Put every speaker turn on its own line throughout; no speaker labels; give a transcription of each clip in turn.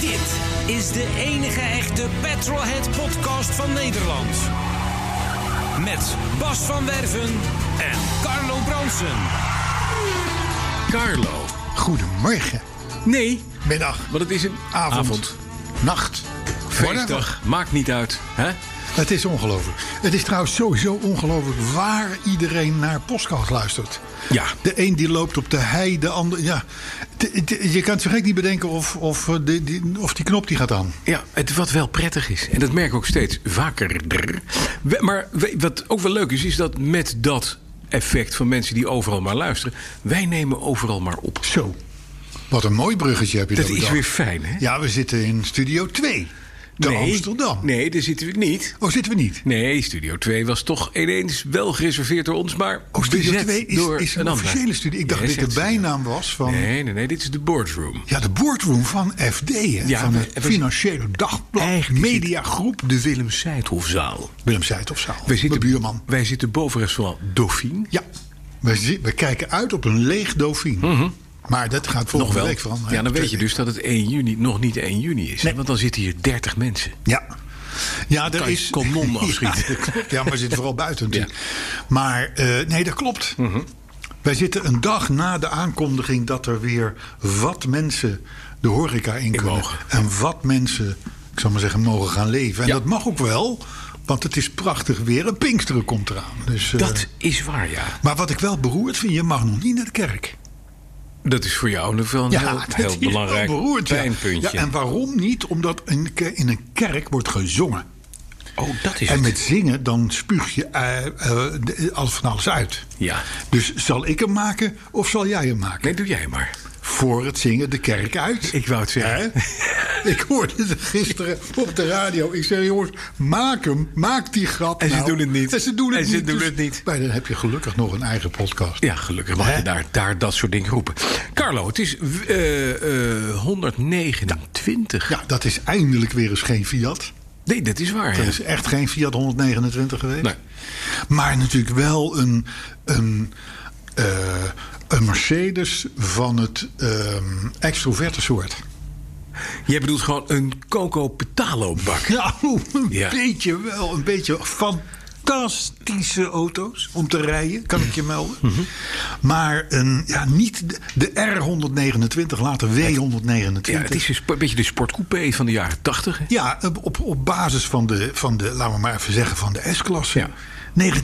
Dit is de enige echte Petrolhead podcast van Nederland. Met Bas van Werven en Carlo Bronsen.
Carlo.
Goedemorgen,
Nee,
middag,
want het is een
avond,
avond.
nacht, whatever.
Feestdag. Maakt niet uit. Hè?
Het is ongelooflijk. Het is trouwens sowieso ongelooflijk waar iedereen naar podcast luistert.
Ja.
De een die loopt op de hei, de ander... Ja, T- t- je kan het zo gek niet bedenken of, of, eh, die, die, of die knop die gaat aan.
Ja, het, wat wel prettig is. En dat merk ik ook steeds vakerder. We- Maar we- wat ook wel leuk is, is dat met dat effect van mensen die overal maar luisteren... wij nemen overal maar op.
Zo. Wat een mooi bruggetje heb je
Dat
daar
is
bedacht.
weer fijn, hè?
Ja, we zitten in Studio 2, te
nee,
Amsterdam.
Nee, daar zitten we niet.
Oh, zitten we niet?
Nee, Studio 2 was toch ineens wel gereserveerd door ons, maar
Oh, Studio
bezet
2
door
is, is een,
ander.
officiële studio. Ik dacht
Yes,
dat dit
het
de
is-
bijnaam was van...
Nee, nee, nee, dit is de boardroom.
Ja, de boardroom van FD, hè?
Ja,
van
maar
het
het was-
Financiële Dagblad
Eigenlijk is het-
Mediagroep.
De Willem Seidhofzaal.
Willem Zijtofzaal,
Wij zitten,
mijn buurman.
Wij zitten boven restaurant Dauphine.
Ja, we, zi- we kijken uit op een leeg Dauphine. Maar dat gaat volgende week eh, veranderen.
Mhm. Ja, dan weet je dus dat het 1 juni nog niet 1 juni is.
Nee.
Want dan zitten hier 30 mensen.
Ja. Ja, er
Kan je
is...
kanon afschieten.
Ja, dat klopt. Ja, maar we zitten vooral buiten natuurlijk. Maar eh, nee, dat klopt.
Mhm.
Wij zitten een dag na de aankondiging dat er weer wat mensen de horeca in kunnen.
mogen.
En wat mensen, ik zal maar zeggen, mogen gaan leven. En
Ja.
dat mag ook wel, want het is prachtig weer. En Pinksteren komt eraan. Dus, eh,
Dat is waar, ja.
Maar wat ik wel beroerd vind, je mag nog niet naar de kerk.
Dat is voor jou nog wel een heel,
dat
heel
is wel
belangrijk
beroerd, ja.
pijnpuntje.
Ja, en waarom niet? Omdat een ke- in een kerk wordt gezongen.
oh, dat is
En
het.
met zingen, dan spuug je eh, eh, de- alles van alles uit.
Ja.
Dus zal ik hem maken of zal jij hem maken?
Nee, doe jij maar.
Voor het zingen de kerk uit.
Ik wou het zeggen.
Hè? ik hoorde het gisteren op de radio. Ik zei, jongens, maak hem. Maak die grap
En ze
nou.
doen het niet.
En ze doen het
En ze
niet. Dus
doen het niet.
Maar dan heb je gelukkig nog een eigen podcast.
Ja, gelukkig mag
Hè?
je daar, daar dat soort dingen roepen. Carlo, het is eh, eh, 129.
Ja, dat is eindelijk weer eens geen Fiat.
Nee, dat is waar.
Er
ja.
is echt geen Fiat 129 geweest.
Nee.
Maar natuurlijk wel een, een, eh, een Mercedes van het ehm extroverte soort.
Jij bedoelt gewoon een Coco Petalo bak.
Ja, oeh, een
Ja.
beetje wel. Een beetje fantastische auto's om te rijden, kan ik je melden.
Mhm.
Maar een, ja, niet de- de R129, later W129.
Ja, het is een, sp- een beetje de sportcoupé van de jaren 80. hè?
Ja, op, op basis van de, van de, laten we maar even zeggen, van de S-klasse.
Ja.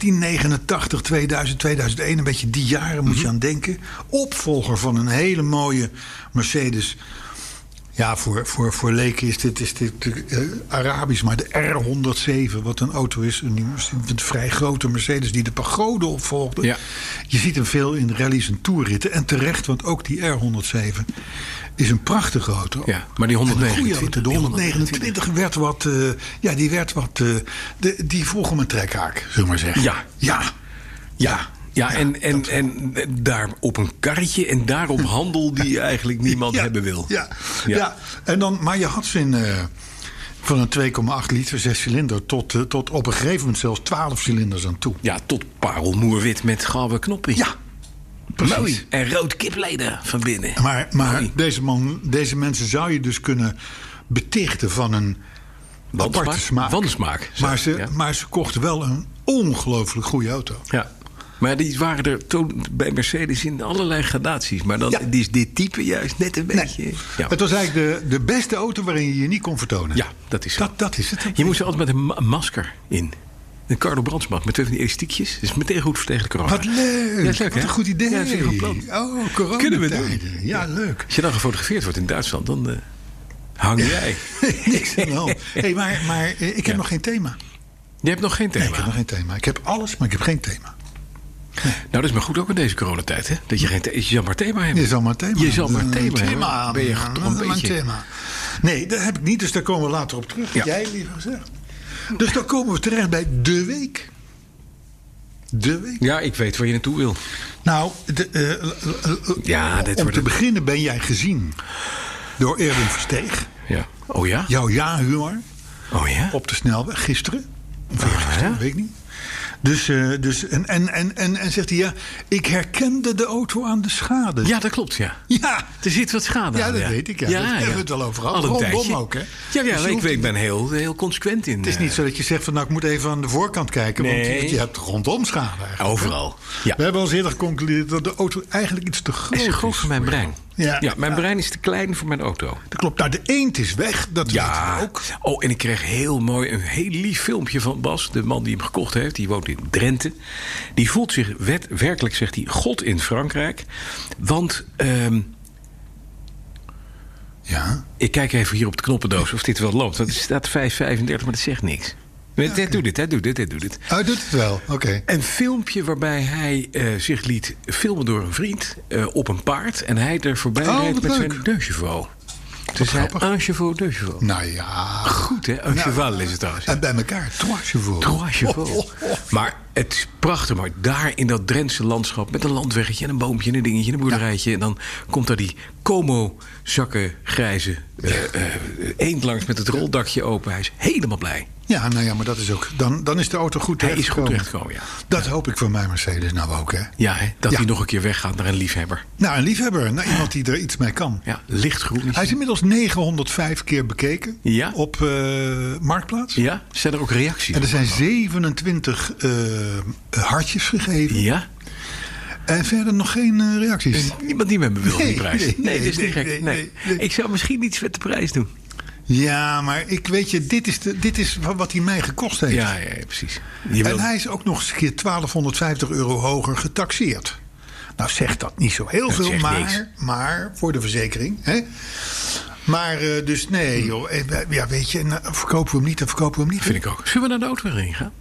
1989, 2000, 2001, een beetje die jaren moet
Mhm.
je aan denken. Opvolger van een hele mooie Mercedes. Ja, voor, voor, voor leken is dit, is dit eh, Arabisch, maar de R107, wat een auto is. Een, nieuwe- een vrij grote Mercedes die de pagode opvolgde.
Ja.
Je ziet hem veel in rallies en toerritten. En terecht, want ook die R107 is een prachtige auto.
Ja, maar die 129,
Een goede auto. De
die
129 werd wat. eh, ja, die werd wat. eh, de, die vroeg om een trekhaak, zullen we maar zeggen.
Ja.
Ja. Ja.
Ja, en, en, en daar op een karretje en daarop handel die eigenlijk niemand
Ja,
hebben wil.
Ja.
Ja.
Ja. En dan, maar je had ze in. eh, van een 2,8 liter zescilinder tot, eh, tot op een gegeven moment zelfs 12 cilinders aan toe.
Ja, tot parelmoerwit met gouden knoppen.
Ja, precies.
Mooi. En rood kipleden van binnen.
Maar, maar
Mooi.
deze, man, deze mensen zou je dus kunnen betichten van een
Wansmaak?
aparte smaak.
Wansmaak, zo,
Maar ze,
ja.
maar ze kochten wel een ongelooflijk goede auto.
Ja. Maar die waren er toen bij Mercedes in allerlei gradaties. Maar dan
Ja.
die is dit type juist net een beetje. Ja.
Het was eigenlijk de, de beste auto waarin je je niet kon vertonen.
Ja, dat is zo.
Dat, dat is het.
Je moest er altijd met een ma- masker in. Een Carlo Brandsmaak met twee van die elastiekjes. Dat is meteen goed voor tegen de corona.
Wat leuk.
Ja, dat is leuk,
Wat
hè?
een goed idee.
Ja, dat is een goed plan.
Oh, corona.
Kunnen we doen.
Ja, leuk.
Als je dan gefotografeerd wordt in Duitsland, dan eh, hang jij.
Niks aan de hand. Hey, maar, maar eh, ik heb
Ja.
nog geen thema.
Je hebt nog geen
Nee, ik
thema.
heb nog geen thema. Ik heb alles, maar ik heb geen thema.
Nou, dat is maar goed ook in deze coronatijd, hè? Dat je geen the- je zal maar thema hebben.
Je zal maar thema.
Je zal maar
Een
thema,
thema
hebben. Ben je
aan,
toch een
een
beetje...
thema. Nee, dat heb ik niet, dus daar komen we later op terug.
Ja.
Jij liever gezegd. Dus dan komen we terecht bij de week. De week.
Ja, ik weet waar je naartoe wil.
Nou, de, eh, l- l- l-
Ja, dit
om
wordt
te
een-
beginnen ben jij gezien door Erwin Versteeg.
Ja. Oh ja?
Jouw ja-humor
Oh ja?
op de snelweg gisteren. Of eergisteren,
Ah, ja?
weet ik niet. Dus, eh, dus en, en, en, en, en zegt hij, ja, ik herkende de auto aan de schade.
Ja, dat klopt, ja.
Ja,
Er zit wat schade
Ja,
aan.
dat weet ik, ja. Dat hebben we het wel over gehad.
Al een
Rondom
tijdje.
ook, hè?
Ja,
Dus je
ja ik,
hoeft
weet- ik ben heel, heel consequent in. eh,
Het is niet zo dat je zegt van nou ik moet even aan de voorkant kijken,
Nee.
want, want je hebt rondom schade. eigenlijk.
Overal. Ja.
We hebben al eens eerder geconcludeerd dat de auto eigenlijk iets te groot
Het
is.
is groot voor mijn brein.
Ja.
mijn brein is te klein voor mijn auto.
Dat klopt. Nou, de eend is weg. Dat weten
Ja,
we ook.
Oh, en ik kreeg heel mooi een heel lief filmpje van Bas, de man die hem gekocht heeft. Die woont in Drenthe. Die voelt zich wet, werkelijk, zegt hij, God in Frankrijk. Want ehm,
Ja.
ik kijk even hier op de knoppendoos of dit wel loopt. Want er staat 5,35, maar dat zegt niks. Hij Doe dit, hij doet dit, hij doet dit.
Oh, Hij doet het wel. Oké.
Een filmpje waarbij hij eh, zich liet filmen door een vriend eh, op een paard. En hij er voorbij
Oh,
reed
wat
met zijn
leuk.
deux chevaux. Dus hij,
grappig.
un chevaux, deux chevaux.
Nou ja. Nou,
Goed hè, un cheval is het trouwens.
En bij elkaar. Troasje voor.
Trois chevaux.
Oh, oh, oh.
Maar het is prachtig mooi. Daar in dat Drentse landschap met een landweggetje en een boompje en een dingetje en een boerderijtje. En dan komt daar die Como-zakken grijze eh, eh, eend langs met het roldakje open. Hij is helemaal blij.
Ja, nou ja, maar dat is ook. Dan, dan is de auto goed
Hij is goed
terechtgekomen.
terechtgekomen, ja.
Dat hoop ik voor mijn Mercedes nou ook, hè?
Ja, hè, dat
Ja.
hij nog een keer weggaat naar een liefhebber.
Nou, een liefhebber. Nou, iemand die er iets mee kan.
Ja, lichtgroen.
Hij is inmiddels 905 keer bekeken
Ja.
op eh, Marktplaats.
Ja, zijn er ook reacties?
En er zijn 27 eh, hartjes gegeven.
Ja?
En verder nog geen eh, reacties.
Niemand die met me wil
Nee,
die prijs. Nee,
nee,
dat is
nee,
niet gek. Nee,
nee, nee.
Ik zou misschien iets met de prijs doen.
Ja, maar ik weet je, dit is, de, dit is wa- wat hij mij gekost heeft.
Ja, ja, ja, precies. Je wil-
En hij is ook nog eens een keer 1250 euro hoger getaxeerd. Nou zegt dat niet zo heel
Dat
veel,
zegt niks.
maar, maar voor de verzekering. Hè? Maar eh, dus nee, joh. eh, Ja, weet je, nou, verkopen we hem niet, dan verkopen we hem niet.
Hm. Vind ik ook. Zullen we naar de auto weer heen gaan?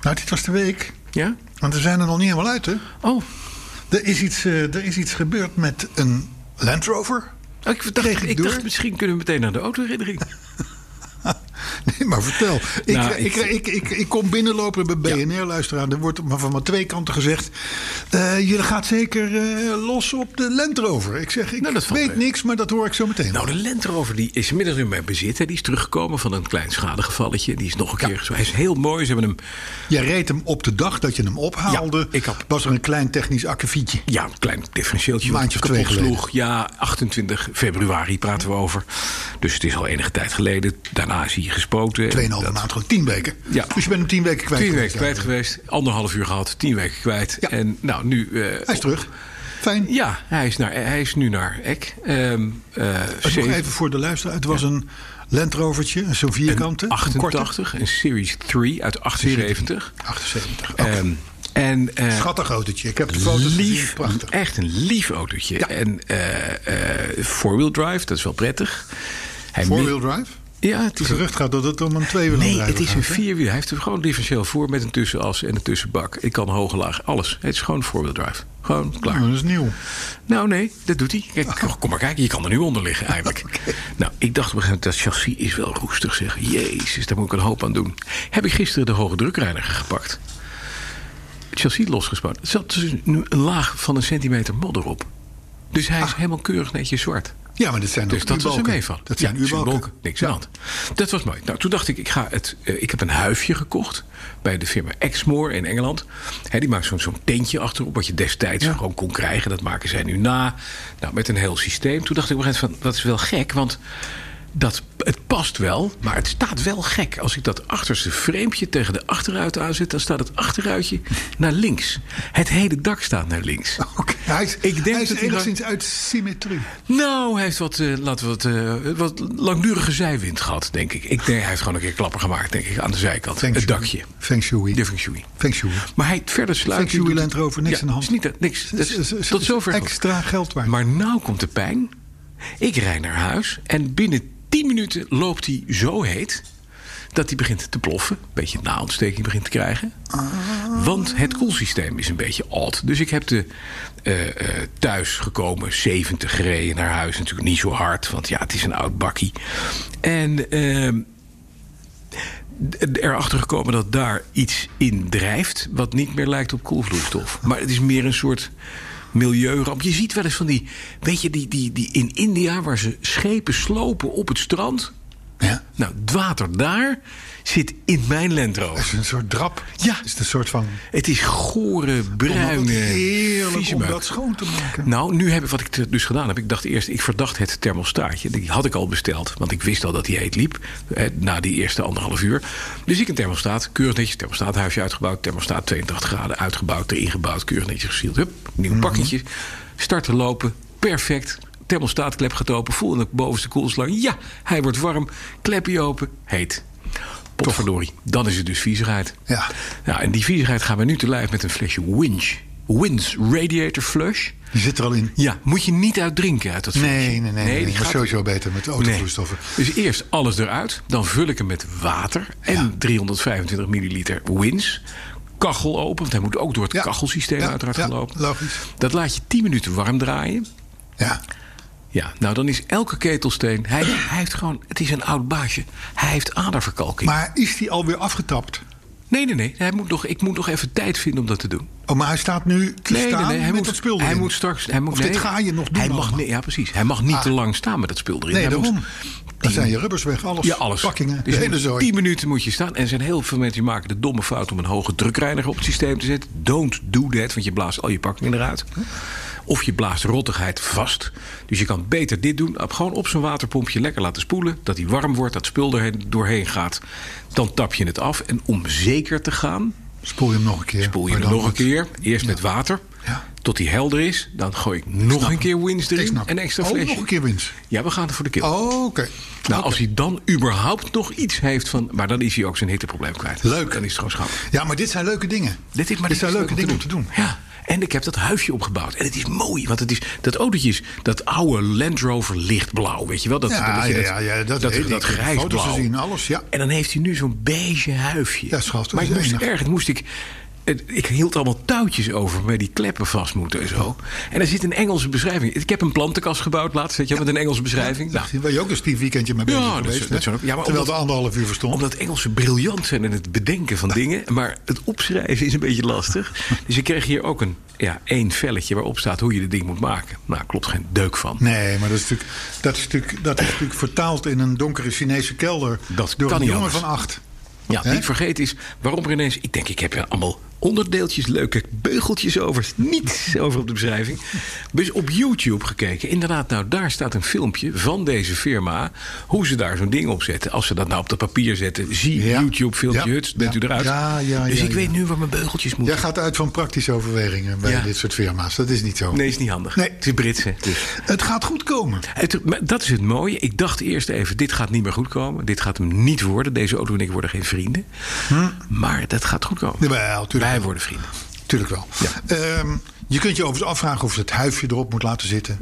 Nou, dit was de week.
Ja?
Want we zijn er nog niet helemaal uit, hè?
Oh,
Er is iets, eh, er is iets gebeurd met een Land Rover.
oh, ik,
Kreeg
dacht,
ik
ik
door?
dacht misschien kunnen we meteen naar de autoherinnering.
Nee, maar vertel. Ik,
Nou,
ik,
ik-
ik, ik, ik, kom binnenlopen bij BNR-luisteraar. Er wordt maar van maar twee kanten gezegd... eh, jullie gaat zeker eh, los op de Land Rover. Ik zeg, ik
Nou, dat valt
weet
mee.
niks, maar dat hoor ik zo meteen.
Nou, de Land Rover die is inmiddels in mijn bezit. Hè. Die is teruggekomen van een klein schadegevalletje. Die is nog een keer zo. Hij is heel mooi. Ze hebben hem
Jij reed hem op de dag dat je hem ophaalde.
Ja, ik had-
Was er een klein technisch akkefietje.
Ja, een klein differentieeltje.
Maandje
wat
of twee
kapot sloeg. Ja, 28 februari praten we over. Dus het is al enige tijd geleden. Daarna is hij gespoten.
Tweeënhalve
Dat-
maand, gewoon tien weken.
Ja.
Dus je bent hem tien weken kwijt.
Tien
geweest,
weken kwijt geweest. Anderhalf uur gehad. Tien weken kwijt.
Ja.
En nou, nu... eh,
Hij is terug. Fijn.
Ja, hij is, naar, hij is nu naar Eck. Ehm eh,
Het nog
zeven-
even voor de luisteraar. Het was een Land Rovertje, zo'n vierkante. een korte.
88, een Series 3 uit 78.
78.
Ehm, en eh,
Schattig autootje. Ik heb de foto's
lief,
gezien. Prachtig.
echt een lief autootje. En eh, eh, four-wheel drive, dat is wel prettig. Hij
Four-wheel
mi-
drive?
Ja, het
Het
is een
gerucht gaat dat het om een tweewieler
Nee,
rijden
het is een
gaat, hè?
vierwiel. Hij heeft er gewoon differentieel voor met een tussenas en een tussenbak. Ik kan hoog en laag, alles. Het is gewoon four-wheel drive. Gewoon klaar.
Nou, dat is nieuw.
Nou nee, dat doet hij. Kijk, kom maar kijken, je kan er nu onder liggen eigenlijk. Nou, ik dacht op een gegeven moment, dat chassis is wel roestig zeg. Jezus, daar moet ik een hoop aan doen. Heb ik gisteren de hoge drukreiniger gepakt. Het chassis losgespannen. Er zat dus nu een laag van een centimeter modder op. Dus hij is helemaal keurig netjes zwart.
Ja, maar dit zijn
Dus
ook
dat was een
U-balken.
meeval.
Dat zijn
ja,
U-balken.
symboolken, Niks aan de hand. Dat was mooi. Nou, toen dacht ik, ik, ga het, eh, ik heb een huifje gekocht bij de firma Exmoor in Engeland. Hè, die maakt zo'n zo'n tentje achterop, wat je destijds gewoon kon krijgen. Dat maken zij nu na. Nou, met een heel systeem. Toen dacht ik op een gegeven moment van, dat is wel gek, want... Dat, het past wel, maar het staat wel gek. Als ik dat achterste framepje tegen de achteruit aanzet... dan staat het achteruitje naar links. Het hele dak staat naar links.
Oké, Hij is,
Ik denk
hij is
dat hij
enigszins uit symmetrie.
Nou, hij heeft wat, eh, laten we het, eh, wat langdurige zijwind gehad, denk ik. ik denk, hij heeft gewoon een keer klapper gemaakt, denk ik, aan de zijkant.
Feng
het
shui.
dakje.
Feng Shui.
De feng shui.
Feng Shui.
Mhm. Maar hij verder sluit...
Feng Shui Land Rover, niks
Ja,
aan de hand.
Is niet, niks. Dat is-
Is- is- is-
tot
is
zover. goed.
Extra geld waard.
Maar nou komt de pijn. Ik rijd naar huis en binnen 10 minuten loopt hij zo heet... dat die begint te ploffen. Een beetje naontsteking begint te krijgen.
Ah.
Want het koelsysteem is een beetje oud. Dus ik heb de eh, eh, thuis gekomen 70 gereden naar huis. Natuurlijk niet zo hard, want ja, het is een oud bakkie. En ehm, d- erachter gekomen dat daar iets in drijft... wat niet meer lijkt op koelvloeistof. Maar het is meer een soort milieuramp. Je ziet wel eens van die... Weet je, die, die, die in India waar ze schepen slopen op het strand...
Ja.
Nou, het water daar zit in mijn lendro.
Het is een soort drap.
Ja.
Het is een soort van...
Het is gore,
Oh, Wat
bruine,
heerlijk
vieze
om
meuk.
dat schoon te maken.
Nou, nu heb ik wat ik te- dus gedaan heb. Ik dacht eerst, ik verdacht het thermostaatje. Die had ik al besteld, want ik wist al dat die heet liep. eh, Na die eerste anderhalf uur. Dus ik een thermostaat, keurig netjes, thermostaathuisje uitgebouwd. Thermostaat 82 graden uitgebouwd, erin gebouwd, keurig netjes gesield. Hup, nieuw pakketje. Starten lopen, perfect. Thermostaatklep gaat open, voel in de bovenste koelslang. Ja, hij wordt warm. Klepje open, heet. Potverdorie, dan is het dus viezigheid.
Ja.
Nou, en die viezigheid gaan we nu te lijf met een flesje Winch. Wins Radiator Flush.
Die zit er al in.
Ja, moet je niet uitdrinken uit dat flesje.
Nee, nee, nee, nee, nee. Maar sowieso beter met autovloeistoffen.
Dus eerst alles eruit. Dan vul ik hem met water en 325 milliliter wins. Kachel open, want hij moet ook door het
Ja.
kachelsysteem
Ja,
uiteraard
ja,
gaan lopen.
logisch.
Dat laat je 10 minuten warm draaien.
Ja.
Ja, nou dan is elke ketelsteen... Hij, hij heeft gewoon... Het is een oud baasje. Hij heeft aderverkalking.
Maar is die alweer afgetapt?
nee, nee, nee. Hij moet nog, ik moet nog even tijd vinden om dat te doen.
Oh, maar hij staat nu te
Nee,
staan
nee, nee, hij
met
moet,
dat spul
Hij
erin.
moet straks. Hij moet,
Of
nee,
dit ga je nog doen
Hij mag,
allemaal? Ah.
nee, ja, precies. Hij mag niet te lang staan met dat spul erin.
Nee,
hij
daarom.
Moet,
Dan zijn je rubbers weg, alles.
ja, alles.
Pakkingen,
Dus
de hele
in
zooi.
10 minuten moet je staan. En er zijn heel veel mensen die maken de domme fout om een hoge drukreiniger op het systeem te zetten. Don't do that, want je blaast al je pakkingen eruit. Of je blaast rottigheid vast. Dus je kan beter dit doen. Op, gewoon op zo'n waterpompje lekker laten spoelen. Dat die warm wordt, dat spul erheen, doorheen gaat. Dan tap je het af. En om zeker te gaan,
Spoel je hem nog een keer.
Spoel je
Maar
hem
dan
nog een
wat-
keer. Eerst met water.
Ja.
Tot die helder is. Dan gooi ik nog een keer winst
Ik
erin.
snap.
En extra
oh,
flesje.
nog een keer winst.
Ja, we gaan er voor de keel.
Oh, oké.
nou, als hij dan überhaupt nog iets heeft van... Maar dan is hij ook zijn hitteprobleem kwijt.
Leuk.
Dan is het gewoon schattig.
Ja, maar dit zijn leuke dingen.
Dit is maar
zijn
leuk
leuke
om
dingen om te doen.
Ja. En ik heb dat huisje opgebouwd. En het is mooi. Want het is, dat autootje is dat oude Land Rover lichtblauw. Weet je wel? Dat,
Ja,
dat, je
ja, ja, ja, dat weet ik. Ik heb
grijsblauw.
foto's gezien, alles, ja.
En dan heeft hij nu zo'n beige huifje.
Ja, schat, dat
Maar
is
ik moest
enig.
erg, het moest ik... het- Ik hield allemaal touwtjes over waar die kleppen vast moeten en zo. En daar zit een Engelse beschrijving. Ik heb een plantenkast gebouwd laatst, weet je wel, met een Engelse beschrijving. Nou,
Waar je ook eens die weekendje mee bezig
Ja, dat
geweest,
is-
hè?
dat is ook- ja, maar
Terwijl
omdat-
de anderhalf uur verstond.
omdat Engelsen briljant zijn in het bedenken van dingen. Maar het opschrijven is een beetje lastig. Dus ik kreeg hier ook een ja, één velletje waarop staat hoe je dit ding moet maken. Nou, klopt geen deuk van.
Nee, maar dat is natuurlijk, dat is natuurlijk, dat is natuurlijk vertaald in een donkere Chinese kelder.
Dat
door
kan
een
niet
jongen
anders.
van acht.
Ja,
Hè?
die ik vergeet is waarom er ineens... Ik denk, ik heb er allemaal onderdeeltjes, leuke beugeltjes over. Niets over op de beschrijving. Dus op YouTube gekeken. Inderdaad, nou, daar staat een filmpje van deze firma... hoe ze daar zo'n ding op zetten. Als ze dat nou op dat papier zetten... zie
Ja.
YouTube, filmpje,
Ja.
huts, bent
Ja.
u eruit.
Ja, ja,
dus
ja,
ik
ja.
weet nu waar mijn beugeltjes moeten.
Jij gaat uit van praktische overwegingen bij
Ja.
dit soort firma's. Dat is niet zo.
Nee, is niet handig.
Oh. Nee.
Het is Britse. Dus.
Het gaat goed komen.
Het- maar dat is het mooie. Ik dacht eerst even, dit gaat niet meer goed komen. Dit gaat hem niet worden. Deze auto en ik worden geen vrienden. Maar dat gaat goed komen.
Hm. Jawel, tuurlijk.
Wij worden vrienden.
Tuurlijk wel. Ehm, je kunt je overigens afvragen of ze het huifje erop moet laten zitten.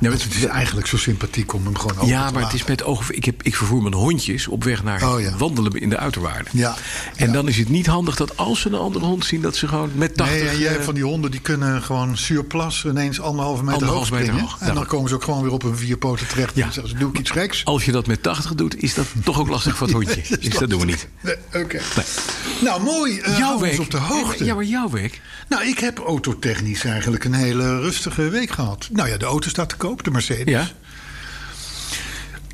maar-
Want het is eigenlijk zo sympathiek om hem gewoon open
ja,
te
maar het
laten.
is met ogen. Ik, heb, ik vervoer mijn hondjes op weg naar
Oh, ja.
wandelen in de uiterwaarden.
Ja,
En
ja.
dan is het niet handig dat als ze een andere hond zien, dat ze gewoon met 80.
Nee, en jij
eh,
hebt van die honden die kunnen gewoon surplas ineens anderhalve meter
Anderhalve
hoog
meter
springen.
hoog,
en dan
daarom.
komen ze ook gewoon weer op hun vier poten terecht.
Ja.
En zeggen ze, doe ik iets geks?
als je dat met 80 doet, is dat toch ook lastig voor het hondje. Dus dat doen we niet.
Nee, Oké. Nou, mooi. eh hou ons op de hoogte.
Ja, maar jouw week.
Nou, ik heb autotechnisch eigenlijk een hele rustige week gehad. Nou ja, de auto staat te koop, de Mercedes.
Ja.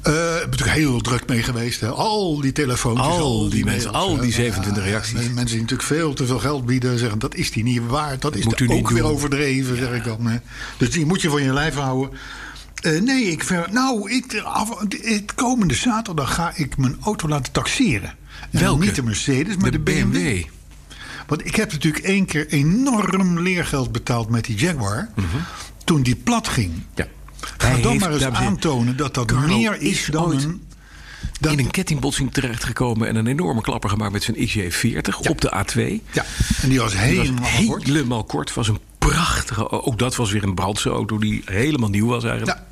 Eh, ik ben natuurlijk heel druk mee geweest. Hè. Al die telefoontjes,
Al
al,
die mensen,
mails,
al
hè.
die 27 reacties.
men- Mensen die natuurlijk veel te veel geld bieden zeggen... dat is die niet waard, dat is
moet
de-
u niet
ook weer
doen.
overdreven, zeg ik dan. Hè. Dus die moet je van je lijf houden. Eh, nee, ik ver, nou, ik, af- het komende zaterdag ga ik mijn auto laten taxeren. En dan
Welke?
Niet de Mercedes, maar de, BMW. Want ik heb natuurlijk één keer enorm leergeld betaald met die Jaguar. Toen die plat ging.
Mhm. Ja.
Ga
Hij
dan
heeft,
maar eens
dames en heren,
aantonen dat dat
Carlo
meer is,
is
dan
ooit
een... Dan,
in een kettingbotsing terechtgekomen en een enorme klapper gemaakt met zijn XJ40 op de A2.
ja, en die was
Die was
helemaal kort.
helemaal kort. Was een prachtige. Ook dat was weer een brandse auto die helemaal nieuw was eigenlijk.
Ja.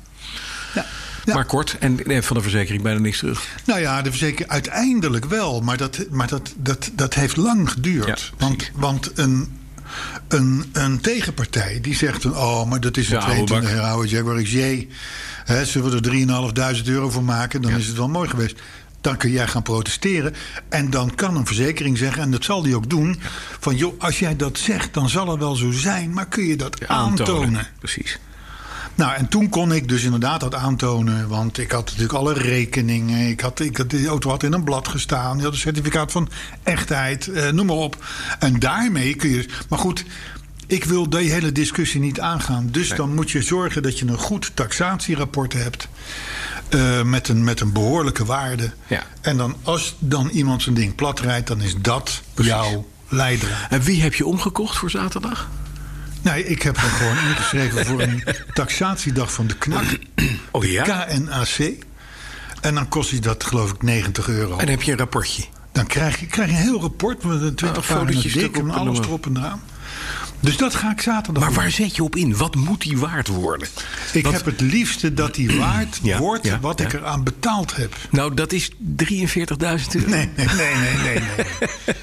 Ja. Ja.
Maar kort en, en van de verzekering bijna niks terug.
Nou ja, de verzekering uiteindelijk wel, maar dat, maar dat, dat, dat heeft lang
Ja,
geduurd.
precies.
want want een, een, een tegenpartij die zegt dan... oh, maar dat is
Ja,
een
oude bak.
22 jaar oude Jaguar XJ. Hè, zullen we er 3.500 euro voor maken? Dan is het wel mooi geweest. Dan kun jij gaan protesteren. En dan kan een verzekering zeggen, en dat zal die ook doen... van joh, als jij dat zegt, dan zal het wel zo zijn... maar kun je dat aantonen?
Precies.
Nou, en toen kon ik dus inderdaad dat aantonen. Want ik had natuurlijk alle rekeningen. Ik had, ik had, de auto had in een blad gestaan. Je had een certificaat van echtheid. eh, noem maar op. En daarmee kun je. dus, Maar goed, ik wil die hele discussie niet aangaan. Dus dan moet je zorgen dat je een goed taxatierapport hebt. eh, met, een, met een behoorlijke waarde.
Ja.
En dan als dan iemand zijn ding plat rijdt, dan is dat jouw leidraad.
En wie heb je omgekocht voor zaterdag?
Nee, ik heb hem gewoon ingeschreven voor een taxatiedag van de knak.
Oh ja?
KNAC. En dan kost je dat geloof ik 90 euro.
En heb je een rapportje?
Dan krijg je, krijg je een heel rapport met een 20
Ah,
pagina's
fotootjes
dik
erop
en
en
alles
noem maar.
erop en eraan. Dus dat ga ik zaterdag
Maar
doen.
waar zet je op in? Wat moet die waard worden?
Ik
Want-
heb het liefste dat die waard
Ja,
wordt
ja,
wat
ja.
ik eraan betaald heb.
Nou, dat is 43.000 euro.
Nee, nee, nee, nee, nee. nee.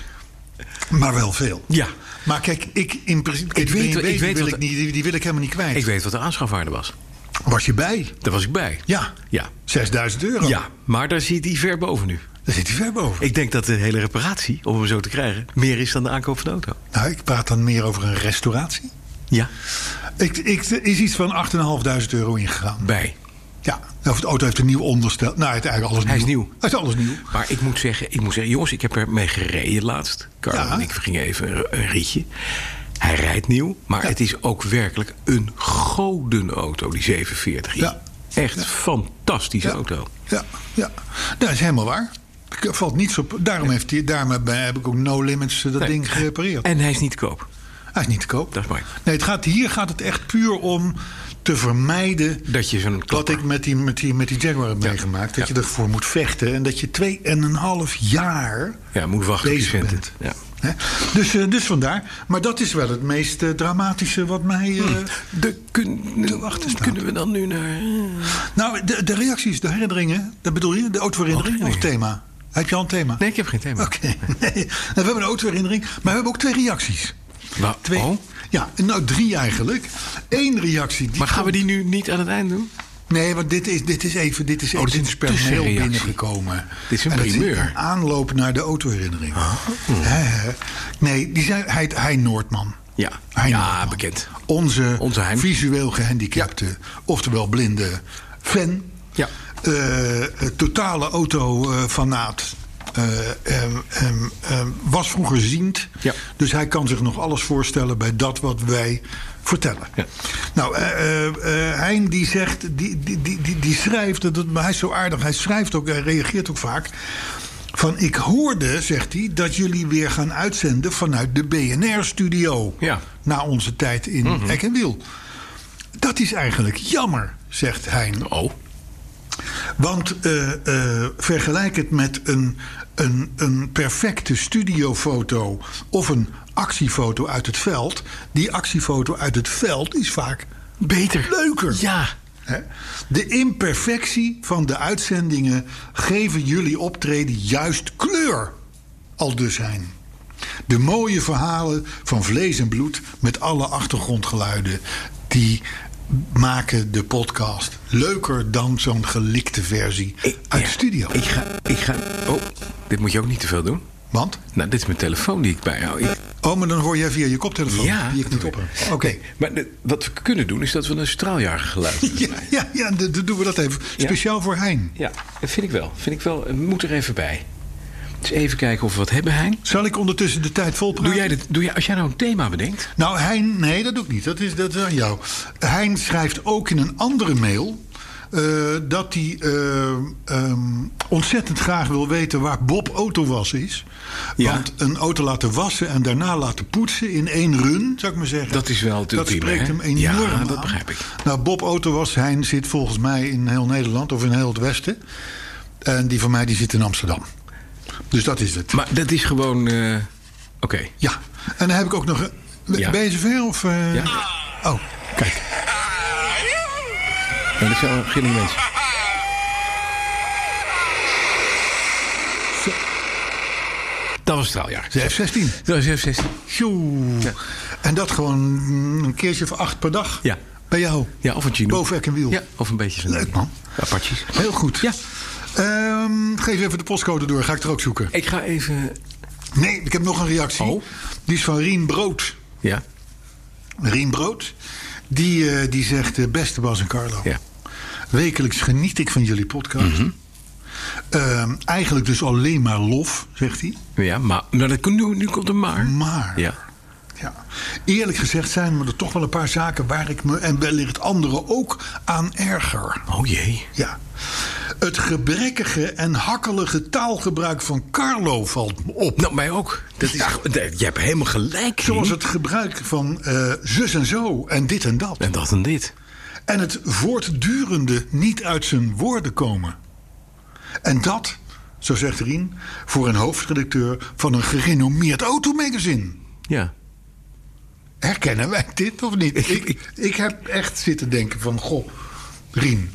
maar wel veel.
Ja.
Maar kijk, ik in principe. Ik
weet-
weet,
ik
ik
weet
wil
wat-
ik niet, die, die wil ik helemaal niet kwijt.
Ik weet wat de aanschafwaarde was.
Was je bij?
Daar was ik bij.
Ja.
Ja.
6000 euro.
Ja, maar daar zit hij ver boven nu.
Daar zit hij ver boven.
Ik denk dat de hele reparatie, om hem zo te krijgen, meer is dan de aankoop van de auto.
Nou, ik praat dan meer over een restauratie.
Ja.
Ik, ik, er is iets van 8.500 euro ingegaan.
Bij.
Ja, Nou, of de auto heeft een nieuw onderstel. Nou, het is eigenlijk alles
Hij is
nieuw.
nieuw.
Hij is alles nieuw.
Maar ik moet zeggen, ik moet zeggen jongens, ik heb ermee gereden laatst. Carlo
Ja.
en ik gingen even een, een ritje. Hij rijdt nieuw, maar het is ook werkelijk een godenauto, die 47.
Ja.
Echt fantastische
Ja.
auto.
Ja, ja. dat is helemaal waar. Er Valt niets op. Daarom, heeft hij, daarom heb, eh, heb ik ook No Limits eh, dat
Nee.
ding gerepareerd.
En hij is niet te koop.
Hij is niet te koop.
Dat is mooi.
Nee, het gaat, hier gaat het echt puur om te vermijden...
Dat je zo'n
wat
klapper-
ik met die, met die, met die Jaguar heb
Ja.
meegemaakt. Dat
Ja.
je ervoor moet vechten. En dat je twee en een half jaar
Ja, moet wachten op die
bezig
venten.
bent.
Ja.
Hè? Dus, eh, dus vandaar. Maar dat is wel het meest eh, dramatische wat mij... eh,
Hmm. De, kun-
Te wachten staat.
kunnen we dan nu naar...
Nou, de, de reacties, de herinneringen, dat bedoel je? De autoherinnering of
Autoherinnering.
thema? Heb je al een thema?
Oh, Nee, ik heb geen thema.
Oké. Nee. Nou, we hebben een autoherinnering, maar we hebben ook twee reacties.
Wa-
Twee,
oh?
Ja, nou drie eigenlijk. Eén reactie. Die
Maar gaan we die nu niet aan het eind doen?
Nee, want dit is, dit is even, dit is
Oh,
even
dit is
dit
een tussenreactie.
binnengekomen.
Dit is een
En dat
primeur. Ah.
een aanloop naar de autoherinnering. Hè, hè. Nee, die zei, hij, hij Noordman.
Ja.
Hein
Ja,
Noordman.
bekend.
Onze,
Onze Hein.
visueel gehandicapte, oftewel blinde fan.
Ja.
Eh, eh, totale autofanaat. Eh, ehm, ehm, ehm, was vroeger ziend.
Ja.
Dus hij kan zich nog alles voorstellen bij dat wat wij vertellen.
Ja.
Nou, eh, eh, eh, Hein die zegt, die, die, die, die, die schrijft, dat, het- maar hij is zo aardig, hij schrijft ook, hij reageert ook vaak. Van ik hoorde, zegt hij, dat jullie weer gaan uitzenden vanuit de BNR-studio.
Ja. Mhm.
Na onze tijd in Eck en Wiel. Dat is eigenlijk jammer, zegt Hein.
Oh.
Want eh, eh, vergelijk het met een, een, een perfecte studiofoto of een actiefoto uit het veld. Die actiefoto uit het veld is vaak
Beter.
leuker.
Ja.
Hè? De imperfectie van de uitzendingen geven jullie optreden juist kleur. Al dus zijn. De mooie verhalen van vlees en bloed met alle achtergrondgeluiden. Die maken de podcast leuker dan zo'n gelikte versie uit de
Ja.
studio.
Ik ga, ik ga... Oh, dit moet je ook niet te veel doen.
Want?
Nou, dit is mijn telefoon die ik bijhoud. Ik-
Oh, maar dan hoor jij via je koptelefoon.
Ja.
Oh, Die ik niet op heb. Oké.
Maar de- wat we kunnen doen, is dat we een straaljager geluid doen.
Ja, ja, ja, dan doen we dat even.
Ja.
Speciaal voor Hein.
Ja, dat vind ik wel. Vind ik wel. Het Moet er even bij. Dus even kijken of we wat hebben, Hein.
Zal ik ondertussen de tijd volpraten?
Doe jij dit, doe jij, als jij nou een thema bedenkt...
Nou, Hein, nee, dat doe ik niet. Dat is, dat is aan jou. Hein schrijft ook in een andere mail. eh, dat hij eh, ehm, ontzettend graag wil weten waar Bob autowas is.
Ja.
Want een auto laten wassen en daarna laten poetsen in één run, zou ik maar zeggen.
Dat is wel het
Dat
ultieme,
spreekt
hè?
hem enorm
Ja,
aan.
dat begrijp ik.
Nou, Bob autowas, Hein zit volgens mij in heel Nederland of in heel het Westen. En die van mij die zit in Amsterdam. Dus dat is het.
Maar dat is gewoon... eh, Oké.
Ja, en dan heb ik ook nog. een-
Ja.
Ben je zover? Of, eh,
Ja.
Oh, kijk.
Nou, dat zijn wel gillende mensen.
Ah,
Dat was het straaljaar.
De F-16.
Dat was F-16.
Tjoe.
Ja.
En dat gewoon mm, een keertje of acht per dag.
Ja.
Bij jou.
Ja, of een Chinook.
Bovenwerk en wiel.
Ja, of een beetje zo'n
Leuk, man.
Apaches.
Heel goed.
Ja.
Ehm, geef even de postcode door. Ga ik er ook zoeken.
Ik ga even...
Nee, ik heb nog een reactie.
Oh.
Die is van Rien Brood.
Ja,
Rien Brood. Die, eh, die zegt, eh, beste Bas en Carlo.
ja. Mhm.
Wekelijks geniet ik van jullie podcast. Ehm, eigenlijk dus alleen maar lof, zegt hij.
Ja, maar nou, dat, nu, nu komt een maar.
Maar.
Ja.
Ja. Eerlijk gezegd zijn er toch wel een paar zaken waar ik me en wellicht anderen ook aan erger.
Oh jee.
Ja. Het gebrekkige en hakkelige taalgebruik van Carlo valt me op.
Nou, mij ook. Dat is, Hm. gewoon- nee, Je hebt helemaal gelijk.
Zoals
Rien.
het gebruik van eh, zus en zo en dit en dat.
En dat en dit.
En het voortdurende niet uit zijn woorden komen. En dat, zo zegt Rien, voor een hoofdredacteur van een gerenommeerd automagazine.
Ja.
Herkennen wij dit of niet? ik, ik heb echt zitten denken van, goh, Rien.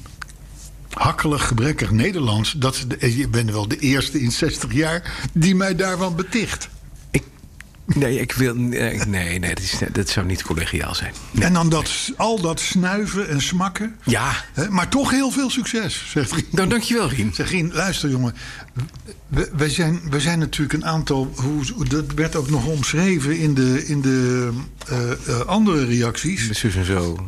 Hakkelig, gebrekkig Nederlands. Dat, is de- eh, je bent wel de eerste in 60 jaar die mij daarvan beticht.
Ik, nee, ik wil. Nee, nee, nee, dat, is, dat zou niet collegiaal zijn.
En dan dat, al dat snuiven en smakken.
Ja.
Hè, maar toch heel veel succes, zegt Rien.
Nou, dankjewel, Rien.
Zeg Rien, luister jongen. We, wij, zijn, wij zijn natuurlijk een aantal... Hoe, dat werd ook nog omschreven in de, in de eh, eh, andere reacties.
Zus en zo.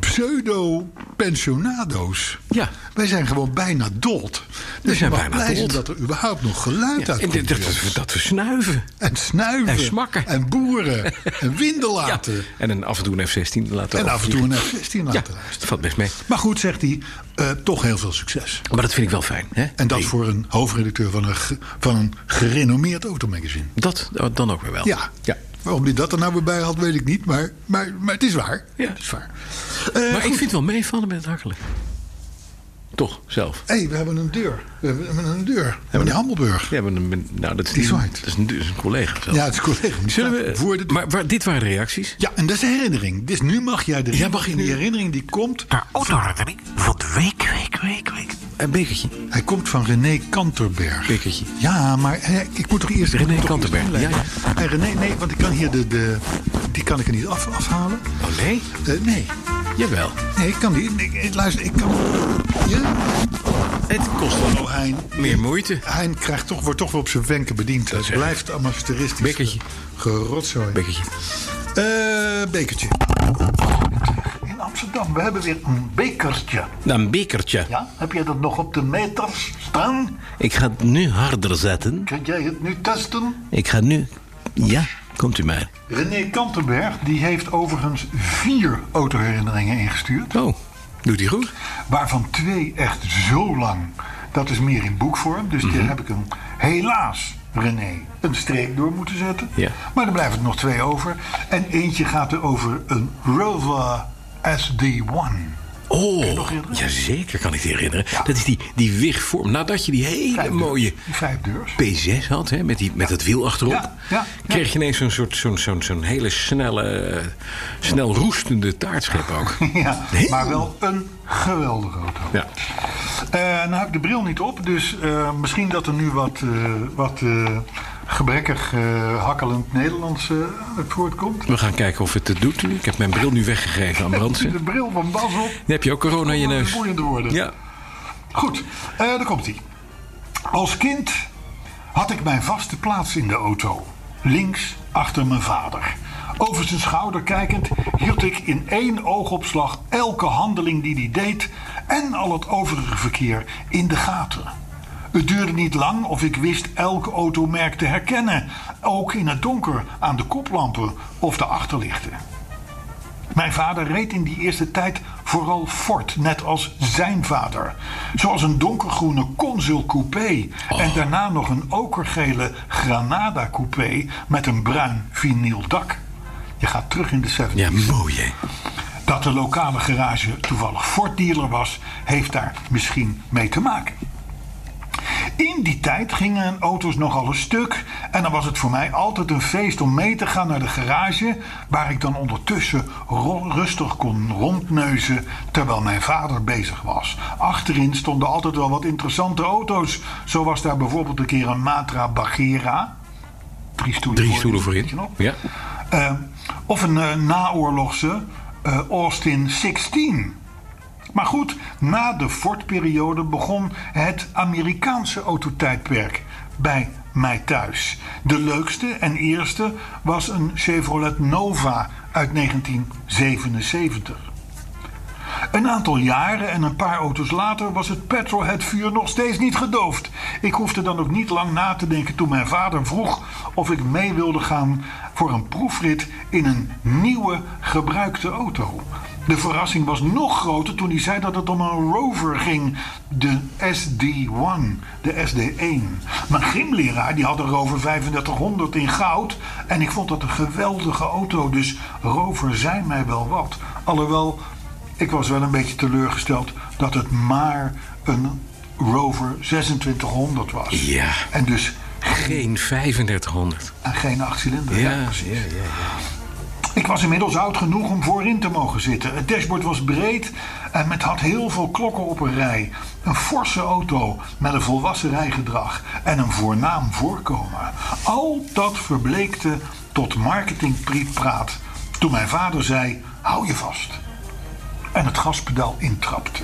pseudo-pensionado's.
Ja.
Wij zijn gewoon bijna dood. Dus
zijn
je mag
bijna
blij zijn
dood.
dat er überhaupt nog geluid uit
En dat,
komt.
dat,
jongens.
dat, dat we snuiven.
en snuiven.
en smakken.
En boeren. en windelaten.
En een, af en toe een F-16 laten
En af en toe een F-16
Ja,
laten
dat
luisteren.
valt best mee.
Maar goed, zegt hij, eh, toch heel veel succes.
Maar dat vind ik wel fijn. Hè?
En dat
Rien.
voor een hoofdredacteur van een, ge- van een gerenommeerd automagazine.
Dat oh, dan ook weer wel.
Ja.
ja.
Waarom hij dat er nou weer bij had, weet ik niet. Maar, maar, maar het is waar.
Ja.
Het is waar.
maar ik vind wel meevallen met het hakkelen. Toch, zelf.
Hé, hey, we hebben een deur. We hebben een deur. Meneer Hammelburg.
We hebben een, nou, dat is,
Die
niet-
zwaait.
dat is een, dat is een collega. zelf.
Ja, het is collega. Die
Oh. Zullen
staat
we,
voor de deur.
maar waar- dit waren de reacties.
Ja, en dat is de herinnering. Dus nu mag jij de
Ja, mag ik
die
nu? Ah.
herinnering die komt.
autoherinnering van de week, week, week, week. Een bekertje.
Hij komt van René Kanterberg.
Bekertje.
Ja, maar hè, ik moet toch eerst
René
ik moet toch
Kanterberg,
eerst inleiden. En René, nee, want ik kan hier de, de die kan ik er niet af, afhalen.
Oh nee?
Eh, nee,
Jawel.
nee, ik kan die. Ik, ik- luister, ik kan. Ja?
Het kost wel
Oh, Hein.
meer moeite.
Hein krijgt toch, wordt toch wel op zijn wenken bediend. Het
zeg ik.
blijft amateuristisch. eh,
Bekertje.
Gerotzooi.
Bekertje.
Eh, bekertje. In Amsterdam, we hebben weer een bekertje.
Nou, een bekertje.
Ja, heb jij dat nog op de meter staan?
Ik ga het nu harder zetten.
Kun jij het nu testen?
Ik ga nu... Ja, komt u maar.
René Kantenberg die heeft overigens vier autoherinneringen ingestuurd.
Oh, doet hij goed?
Waarvan twee echt zo lang. Dat is meer in boekvorm. Dus daar heb ik hem helaas, René, een streep door moeten zetten.
Ja.
Maar er blijven er nog twee over. En eentje gaat er over een Rover SD1.
Oh, jazeker kan ik die herinneren. Dat is die, die wigvorm. Nadat je die hele
Vijf
mooie
deurs. Die vijf deurs.
P6 had, hè, met, die, met dat wiel achterop...
Ja, ja, ja.
kreeg je ineens zo'n soort, zo'n, zo'n, zo'n hele snelle, eh, snel roestende taartschep ook.
Ja,
Heel-
maar wel een geweldige auto.
Ja.
Eh, nou heb ik de bril niet op, dus eh, misschien dat er nu wat, eh, wat eh, gebrekkig, eh, hakkelend Nederlands eh, uit voortkomt.
We gaan kijken of het het doet nu. Ik heb mijn bril nu weggegeven aan Brandsen.
De bril van Bas op.
Dan heb je ook corona in je neus.
Boeiende woorden.
Ja.
Goed, eh, daar komt hij. Als kind had ik mijn vaste plaats in de auto. Links achter mijn vader. Over zijn schouder kijkend hield ik in één oogopslag elke handeling die hij deed en al het overige verkeer in de gaten. Het duurde niet lang of ik wist elk automerk te herkennen, ook in het donker aan de koplampen of de achterlichten. Mijn vader reed in die eerste tijd vooral Ford, net als zijn vader. Zoals een donkergroene Consul Coupé en daarna nog een okergele Granada Coupé met een bruin vinyl dak. Je gaat terug in de 70s.
Ja, mooi hè.
Dat de lokale garage toevallig Ford-dealer was, heeft daar misschien mee te maken. In die tijd gingen auto's nogal een stuk en dan was het voor mij altijd een feest om mee te gaan naar de garage, waar ik dan ondertussen ro- rustig kon rondneuzen terwijl mijn vader bezig was. Achterin stonden altijd wel wat interessante auto's. Zo was daar bijvoorbeeld een keer een Matra Bagheera, drie stoelen,
Drie
voor
stoelen voorin.
weet je nog?
Ja.
Eh, of een eh, naoorlogse eh, Austin 16. Maar goed, na de Ford-periode begon het Amerikaanse autotijdperk bij mij thuis. De leukste en eerste was een Chevrolet Nova uit 1977. Een aantal jaren en een paar auto's later was het petrolheadvuur nog steeds niet gedoofd. Ik hoefde dan ook niet lang na te denken toen mijn vader vroeg of ik mee wilde gaan voor een proefrit in een nieuwe gebruikte auto. De verrassing was nog groter toen hij zei dat het om een Rover ging, de SD1, de SD1. Mijn gymleraar die had een Rover 3500 in goud en ik vond dat een geweldige auto, dus Rover zei mij wel wat. Alhoewel ik was wel een beetje teleurgesteld dat het maar een Rover 2600 was.
Ja.
En dus
Geen 3500.
en geen acht cilinder.
Ja, ja,
precies.
ja,
Ik was inmiddels oud genoeg om voorin te mogen zitten. Het dashboard was breed en het had heel veel klokken op een rij. Een forse auto met een volwassen rijgedrag en een voornaam voorkomen. Al dat verbleekte tot marketingprietpraat toen mijn vader zei: hou je vast. En het gaspedaal intrapte.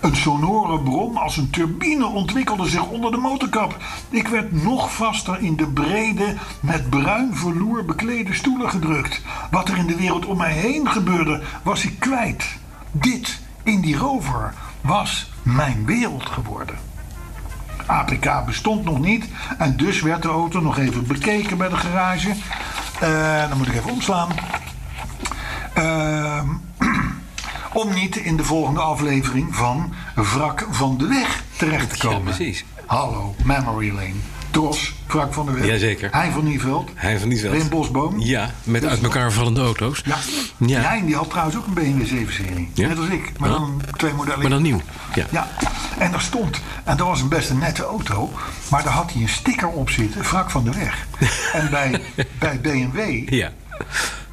Een sonore brom als een turbine ontwikkelde zich onder de motorkap. Ik werd nog vaster in de brede, met bruin verloer beklede stoelen gedrukt. Wat er in de wereld om mij heen gebeurde, was ik kwijt. Dit, in die rover, was mijn wereld geworden. APK bestond nog niet en dus werd de auto nog even bekeken bij de garage. Eh, dan moet ik even omslaan. Ehm, om niet in de volgende aflevering van Wrak van de Weg terecht te
Ja,
komen.
precies.
Hallo, Memory Lane. Tros, Wrak van de Weg.
Jazeker.
Hein van Nieveld.
Hij van niet wel.
Wim Bosboom.
Ja, met uit elkaar vallende auto's.
Ja.
Ja.
Hein, die had trouwens ook een BMW 7-serie.
Ja?
Net als ik. Maar
Ja.
dan twee modellen.
Maar dan nieuw. Ja.
Ja, en daar stond, en dat was een best een nette auto, maar daar had hij een sticker op zitten, wrak van de weg. En bij, bij BMW,
Ja.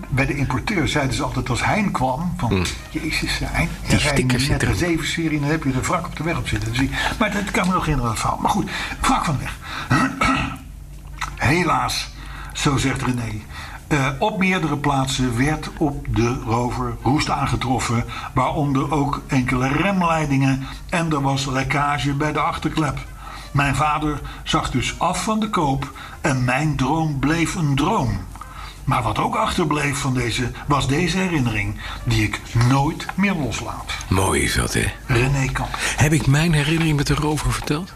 bij de importeur, zeiden ze altijd als Hein kwam, van
Mm.
jezus, Hein, je rijdt
sticker
nu
zit
net
erin.
een 7 serie en dan heb je de wrak op de weg op zitten. Dus ik- maar dat kan me nog herinneren, dat verhaal. Maar goed, wrak van de weg. Helaas, zo zegt René. eh, op meerdere plaatsen werd op de rover roest aangetroffen, waaronder ook enkele remleidingen en er was lekkage bij de achterklep. Mijn vader zag dus af van de koop en mijn droom bleef een droom. Maar wat ook achterbleef van deze was deze herinnering, die ik nooit meer loslaat.
Mooi is dat, hè?
René Kamp.
Heb ik mijn herinnering met de rover verteld?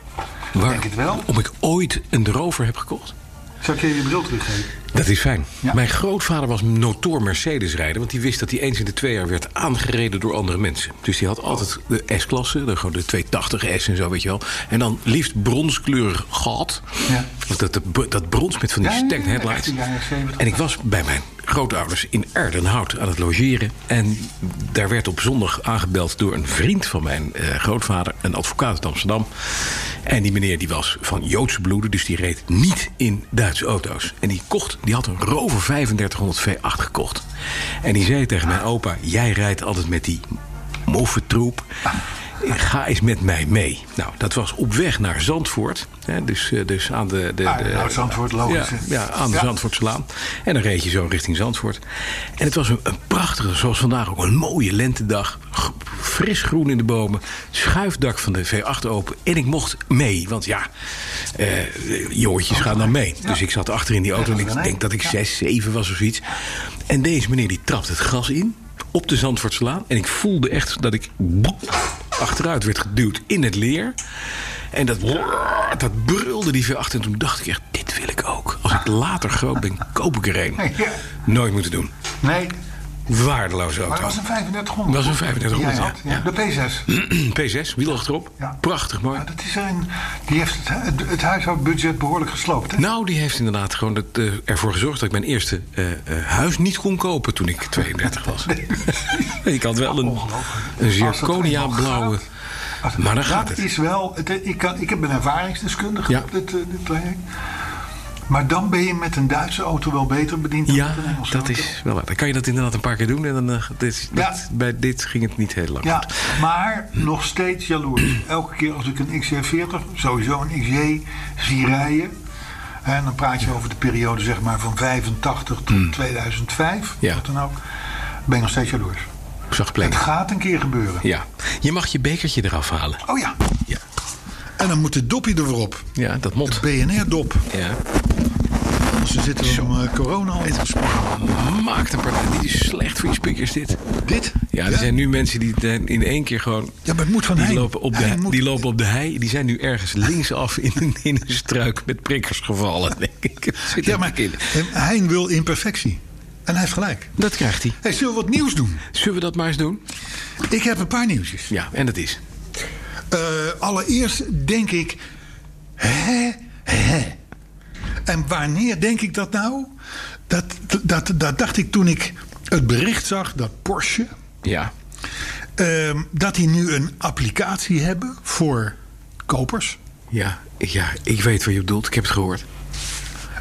Waar,
Denk het wel.
Om ik ooit een rover heb gekocht?
Zou ik je je bril teruggeven?
Dat is fijn.
Ja.
Mijn grootvader was notoor Mercedes-rijder... want die wist dat hij eens in de twee jaar werd aangereden door andere mensen. Dus die had altijd de S-klasse, de, gewoon de 280S en zo, weet je wel. En dan liefst bronskleurig gat.
Ja.
Want Dat, dat, dat brons met van die
Ja, ja, ja,
stacked headlights.
echt in de jaren 70.
En ik was bij mijn grootouders in Erdenhout aan het logeren. En daar werd op zondag aangebeld door een vriend van mijn eh, grootvader, een advocaat uit Amsterdam. En die meneer die was van Joodse bloeden, dus die reed niet in Duitse auto's. En die kocht, die had een Rover 3500 V8 gekocht. En die zei tegen mijn opa: Jij rijdt altijd met die moffentroep. Ga eens met mij mee. Nou, dat was op weg naar Zandvoort. Hè, dus, eh, dus aan de. de,
Ah,
de
nou, Zandvoort, logisch,
Ja,
hè.
ja, aan de
Ja.
Zandvoortselaan. En dan reed je zo richting Zandvoort. En het was een, een prachtige, zoals vandaag ook, een mooie lentedag. G- Fris groen in de bomen. Schuifdak van de V8 open. En ik mocht mee. Want ja, eh jongetjes gaan dan mee. Dus ik zat achter in die auto. En
dat
ik
is
denk dat ik
Ja.
zes, zeven was of zoiets. En deze meneer die trapt het gas in. Op de Zandvoortselaan. En ik voelde echt dat ik achteruit werd geduwd in het leer. En dat, dat brulde die veel achter. En toen dacht ik echt, dit wil ik ook. Als ik later groot ben, koop ik er een.
Ja.
Nooit moeten doen.
Nee,
Waardeloze
maar het
auto.
was een 3500.
Was een 3500,
Die jij had,
ja.
De P6.
P6, wiel achterop.
Ja.
Prachtig mooi.
Ja, dat is een, die heeft het, hu- het huishoudbudget behoorlijk gesloopt. Hè?
Nou, die heeft inderdaad gewoon dat, eh, ervoor gezorgd... dat ik mijn eerste eh, eh, huis niet kon kopen toen ik 32 was. ik had wel een,
Ongelooflijk.
een
Als dat
zirconia
eenmaal
blauwe...
gaat, als-
Maar dan
dat
gaat het.
is wel. Het, ik, kan, ik ben ervaringsdeskundige
Ja.
op dit, eh, dit traject. Maar dan ben je met een Duitse auto wel beter bediend dan
Ja,
met een Engelse
dat
auto.
is wel waar. Dan kan je dat inderdaad een paar keer doen. En dan, eh, dit, is-
Ja.
dit- bij dit ging het niet heel lang
Ja,
goed.
maar nog steeds jaloers. Elke keer als ik een XJ40, sowieso een XJ, zie rijden...
En dan praat je over de periode zeg maar, van 85 tot 2005.
Ja.
Wat dan ook. Ben ik nog steeds jaloers.
Zacht
Het
plek.
gaat een keer gebeuren.
Ja. Je mag je bekertje eraf halen.
Oh ja.
Ja,
En dan moet de dopje er weer op.
ja dat mot.
Het BNR-dop.
Ja.
Anders zitten we om eh, corona al in te sparen.
Maak een partij. Dit is slecht voor je speakers, dit.
Dit?
Ja, er zijn nu mensen die het in één keer gewoon...
Ja, maar het moet van
die
Hein.
lopen, op de,
Hein moet-
die lopen op de hei. Die zijn nu ergens linksaf in een, in een struik met prikkers gevallen, denk ik. Het Zit
Ja,
er
maar
ook in.
Hein wil imperfectie. En hij heeft gelijk.
Dat krijgt hij.
Hey, zullen we wat nieuws doen?
Zullen we dat maar eens doen?
Ik heb een paar nieuwsjes.
Ja, en dat is.
Eh, allereerst denk ik... Hè, hè. En wanneer denk ik dat nou? Dat, dat, dat dacht ik toen ik het bericht zag dat Porsche...
Ja.
ehm, dat die nu een applicatie hebben voor kopers.
Ja, ik- ja, ik weet wat je bedoelt. Ik heb het gehoord.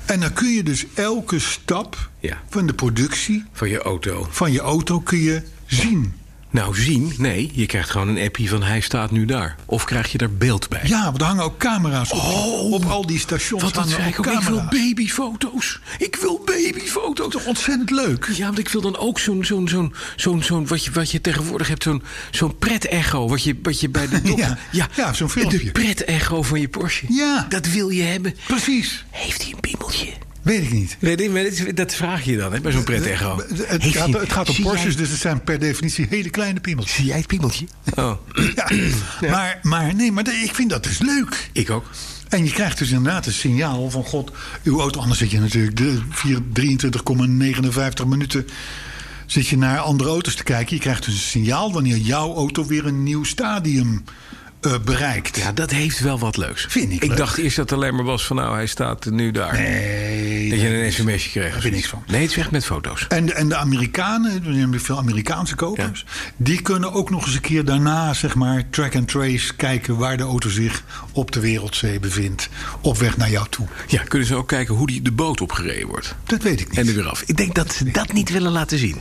En dan kun je dus elke stap
Ja.
van de productie
Van je auto.
van je auto kun je zien.
Nou, zien? Nee, je krijgt gewoon een appje van hij staat nu daar. Of krijg je daar beeld bij?
Ja, want er hangen ook camera's op.
Oh.
op al die stations
Wat dat
hangen
zei
ook
ik ook. Ik wil
camera's.
babyfoto's. Ik wil babyfoto's.
Toch ontzettend leuk.
Ja, want ik wil dan ook zo'n, zo'n, zo'n, zo'n, zo'n wat, je, wat je tegenwoordig hebt, zo'n, zo'n pret-echo. Wat je, wat je bij de dokter...
Ja, ja, zo'n filmpje.
De pret-echo van je Porsche.
Ja.
Dat wil je hebben.
Precies.
Heeft hij een piemeltje?
Weet ik niet.
Weet je, maar dat is- dat vraag je dan, hè, bij zo'n pret-echo.
Eh, Het- Het,
Heeft
gaat,
hij-
het gaat om
zie
Porsches,
jij-
dus het zijn per definitie hele kleine piemels.
Zie jij het piemeltje? Oh,
Ja. Maar, maar nee, maar ik vind dat dus leuk.
ik ook.
En je krijgt dus inderdaad een signaal van... God, uw auto, anders zit je natuurlijk de vier- 23,59 minuten... zit je naar andere auto's te kijken. Je krijgt dus een signaal wanneer jouw auto weer een nieuw stadium eh, bereikt.
Ja, dat heeft wel wat leuks.
Vind ik
Ik
leuk.
dacht eerst dat het alleen maar was van, nou, hij staat nu daar.
Nee,
Dat
nee.
je een sms'je kreeg.
Daar
of
vind ik
zoiets.
niks
Nee, het is echt met foto's.
En de, en de Amerikanen, er zijn veel Amerikaanse kopers... die kunnen ook nog eens een keer daarna, zeg maar... track and trace kijken waar de auto zich op de wereldzee bevindt... op weg naar jou toe.
Ja, kunnen ze ook kijken hoe die de boot opgereden wordt.
Dat weet ik niet.
En er weer af. Ik denk dat ze dat niet willen laten zien.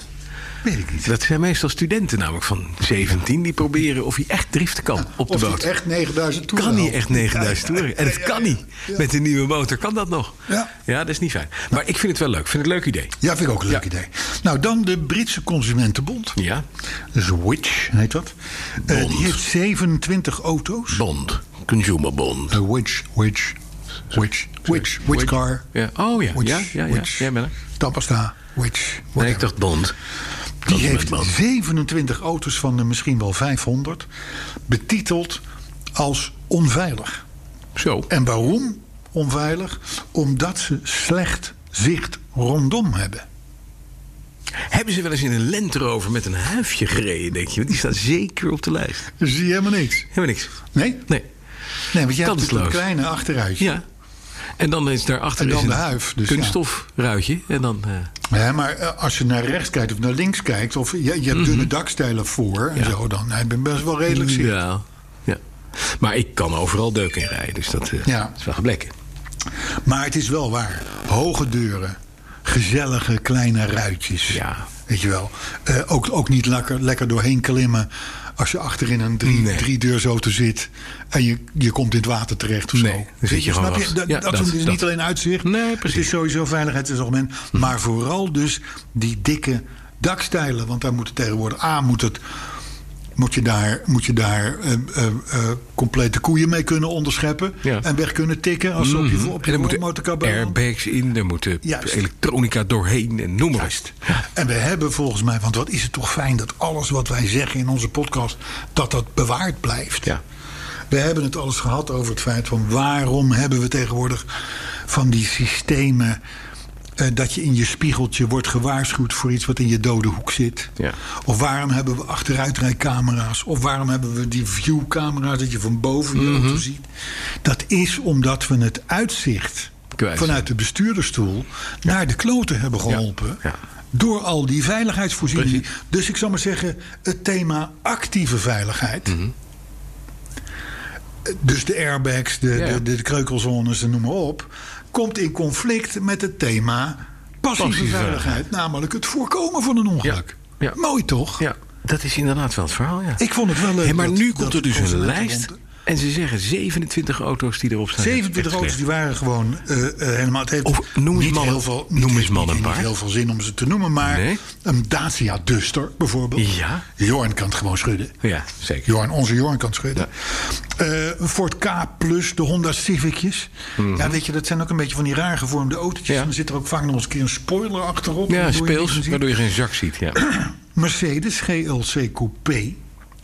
weet ik niet.
Dat zijn meestal studenten namelijk van 17 die proberen of hij echt driften kan op de
of die
boot.
echt 9000 toeren
kan niet
haalt.
echt 9000
Ja, ja,
toeren. En
ja,
het
ja,
kan
ja.
niet.
Ja.
Met een nieuwe motor kan dat nog.
Ja.
dat is niet fijn. Maar ik vind het wel leuk. Ik vind het een leuk idee.
Ja, vind ik ook een leuk
Ja.
idee. Nou, dan de Britse Consumentenbond.
Ja.
Dus Witch heet dat. Eh,
Bond.
die heeft 27 auto's.
Bond. Consumer Bond.
Eh, Witch, Witch, Witch, Witch, Witch car.
Ja. Oh ja,
Witch,
ja, ja, ja.
Witch.
Jij bent er.
Tandpasta, Witch.
Nee,
whatever.
ik dacht Bond.
die heeft
Bond.
27 auto's van de misschien wel 500 betiteld als onveilig.
Zo.
En waarom onveilig? Omdat ze slecht zicht rondom hebben.
Hebben ze wel eens in een Land Rover met een huifje gereden, denk je? Want die staat zeker op de lijst.
Dus zie je helemaal niks.
Helemaal niks.
Nee?
Nee.
Nee, want jij
Kansloos.
hebt natuurlijk een kleine achteruitje.
Ja. En dan is daarachter
En dan
is een
de huif, dus ja.
kunststofruitje. En dan... eh,
Hè, maar eh, als je naar rechts kijkt of naar links kijkt... of je, je hebt dunne dakstijlen voor en zo... dan heb je best wel redelijk zicht.
Mhm. Ja. ja. Maar ik kan overal deuk in rijden, dus dat eh,
Ja.
is wel gebleken.
Maar het is wel waar. Hoge deuren. Gezellige kleine ruitjes.
Ja.
Weet je wel. Eh, ook, ook niet lekker, lekker doorheen klimmen... als je achterin een drie,
Nee.
driedeursauto zit... en je, je komt in het water terecht of
Nee,
zo.
Oh, dan zit je gewoon
snap je?
vast.
Dat,
Ja,
dat,
dat-
is niet
dat.
alleen uitzicht.
Nee,
Het
precies.
is sowieso veiligheidsargument. Maar vooral dus die dikke dakstijlen. Want daar moet het tegenwoordig... A, moet het... Moet je daar, moet je daar eh, eh, eh, complete koeien mee kunnen onderscheppen.
Ja. Mhm.
En weg kunnen tikken als ze op je, op
en
je
er moeten
motorkap
airbags in, er moeten
Juist.
elektronica doorheen en noem maar op.
En we hebben volgens mij, want wat is het toch fijn dat alles wat wij zeggen in onze podcast, dat dat bewaard blijft.
Ja.
We hebben het alles gehad over het feit van waarom hebben we tegenwoordig van die systemen. eh, dat je in je spiegeltje wordt gewaarschuwd voor iets wat in je dode hoek zit.
Ja.
Of waarom hebben we achteruitrijcamera's? Of waarom hebben we die viewcamera's dat je van boven je
Mhm.
auto ziet? Dat is omdat we het uitzicht
Kwijt zijn.
vanuit de bestuurdersstoel naar de kloten hebben geholpen.
Ja.
Door al die veiligheidsvoorzieningen. Dus ik zou maar zeggen, het thema actieve veiligheid.
Mhm.
Dus de airbags, de,
Ja.
de, de, kreukelzones en noem maar op. Komt in conflict met het thema passieve,
Passieve
veiligheid.
veiligheid.
Namelijk het voorkomen van een ongeluk.
Ja. Ja.
Mooi toch?
Ja, dat is inderdaad wel het verhaal, ja.
Ik vond het wel leuk.
Hé, maar
dat-
nu
dat
komt er dus een
consumentenbond-
lijst. En ze zeggen 27 auto's die erop staan.
27 auto's die waren gewoon eh, eh, helemaal. Het heeft
Of noem eens
niet
man een-
heel veel,
noem eens man
niet-
een
niet
paar.
heel veel zin om ze te noemen, maar
Nee.
een Dacia Duster bijvoorbeeld.
Ja.
Jorn kan het gewoon schudden.
Ja, zeker.
Johan, onze Johan kan schudden. Eh, een Ford K Plus, de Honda Civicjes. Ja, weet je, dat zijn ook een beetje van die raar gevormde autootjes.
Mhm. Ja.
En er zit er ook vaak nog eens een keer een spoiler achterop.
Ja,
waardoor je niet
speels,
ziet.
waardoor je geen zak ziet. Ja.
Mercedes GLC Coupé.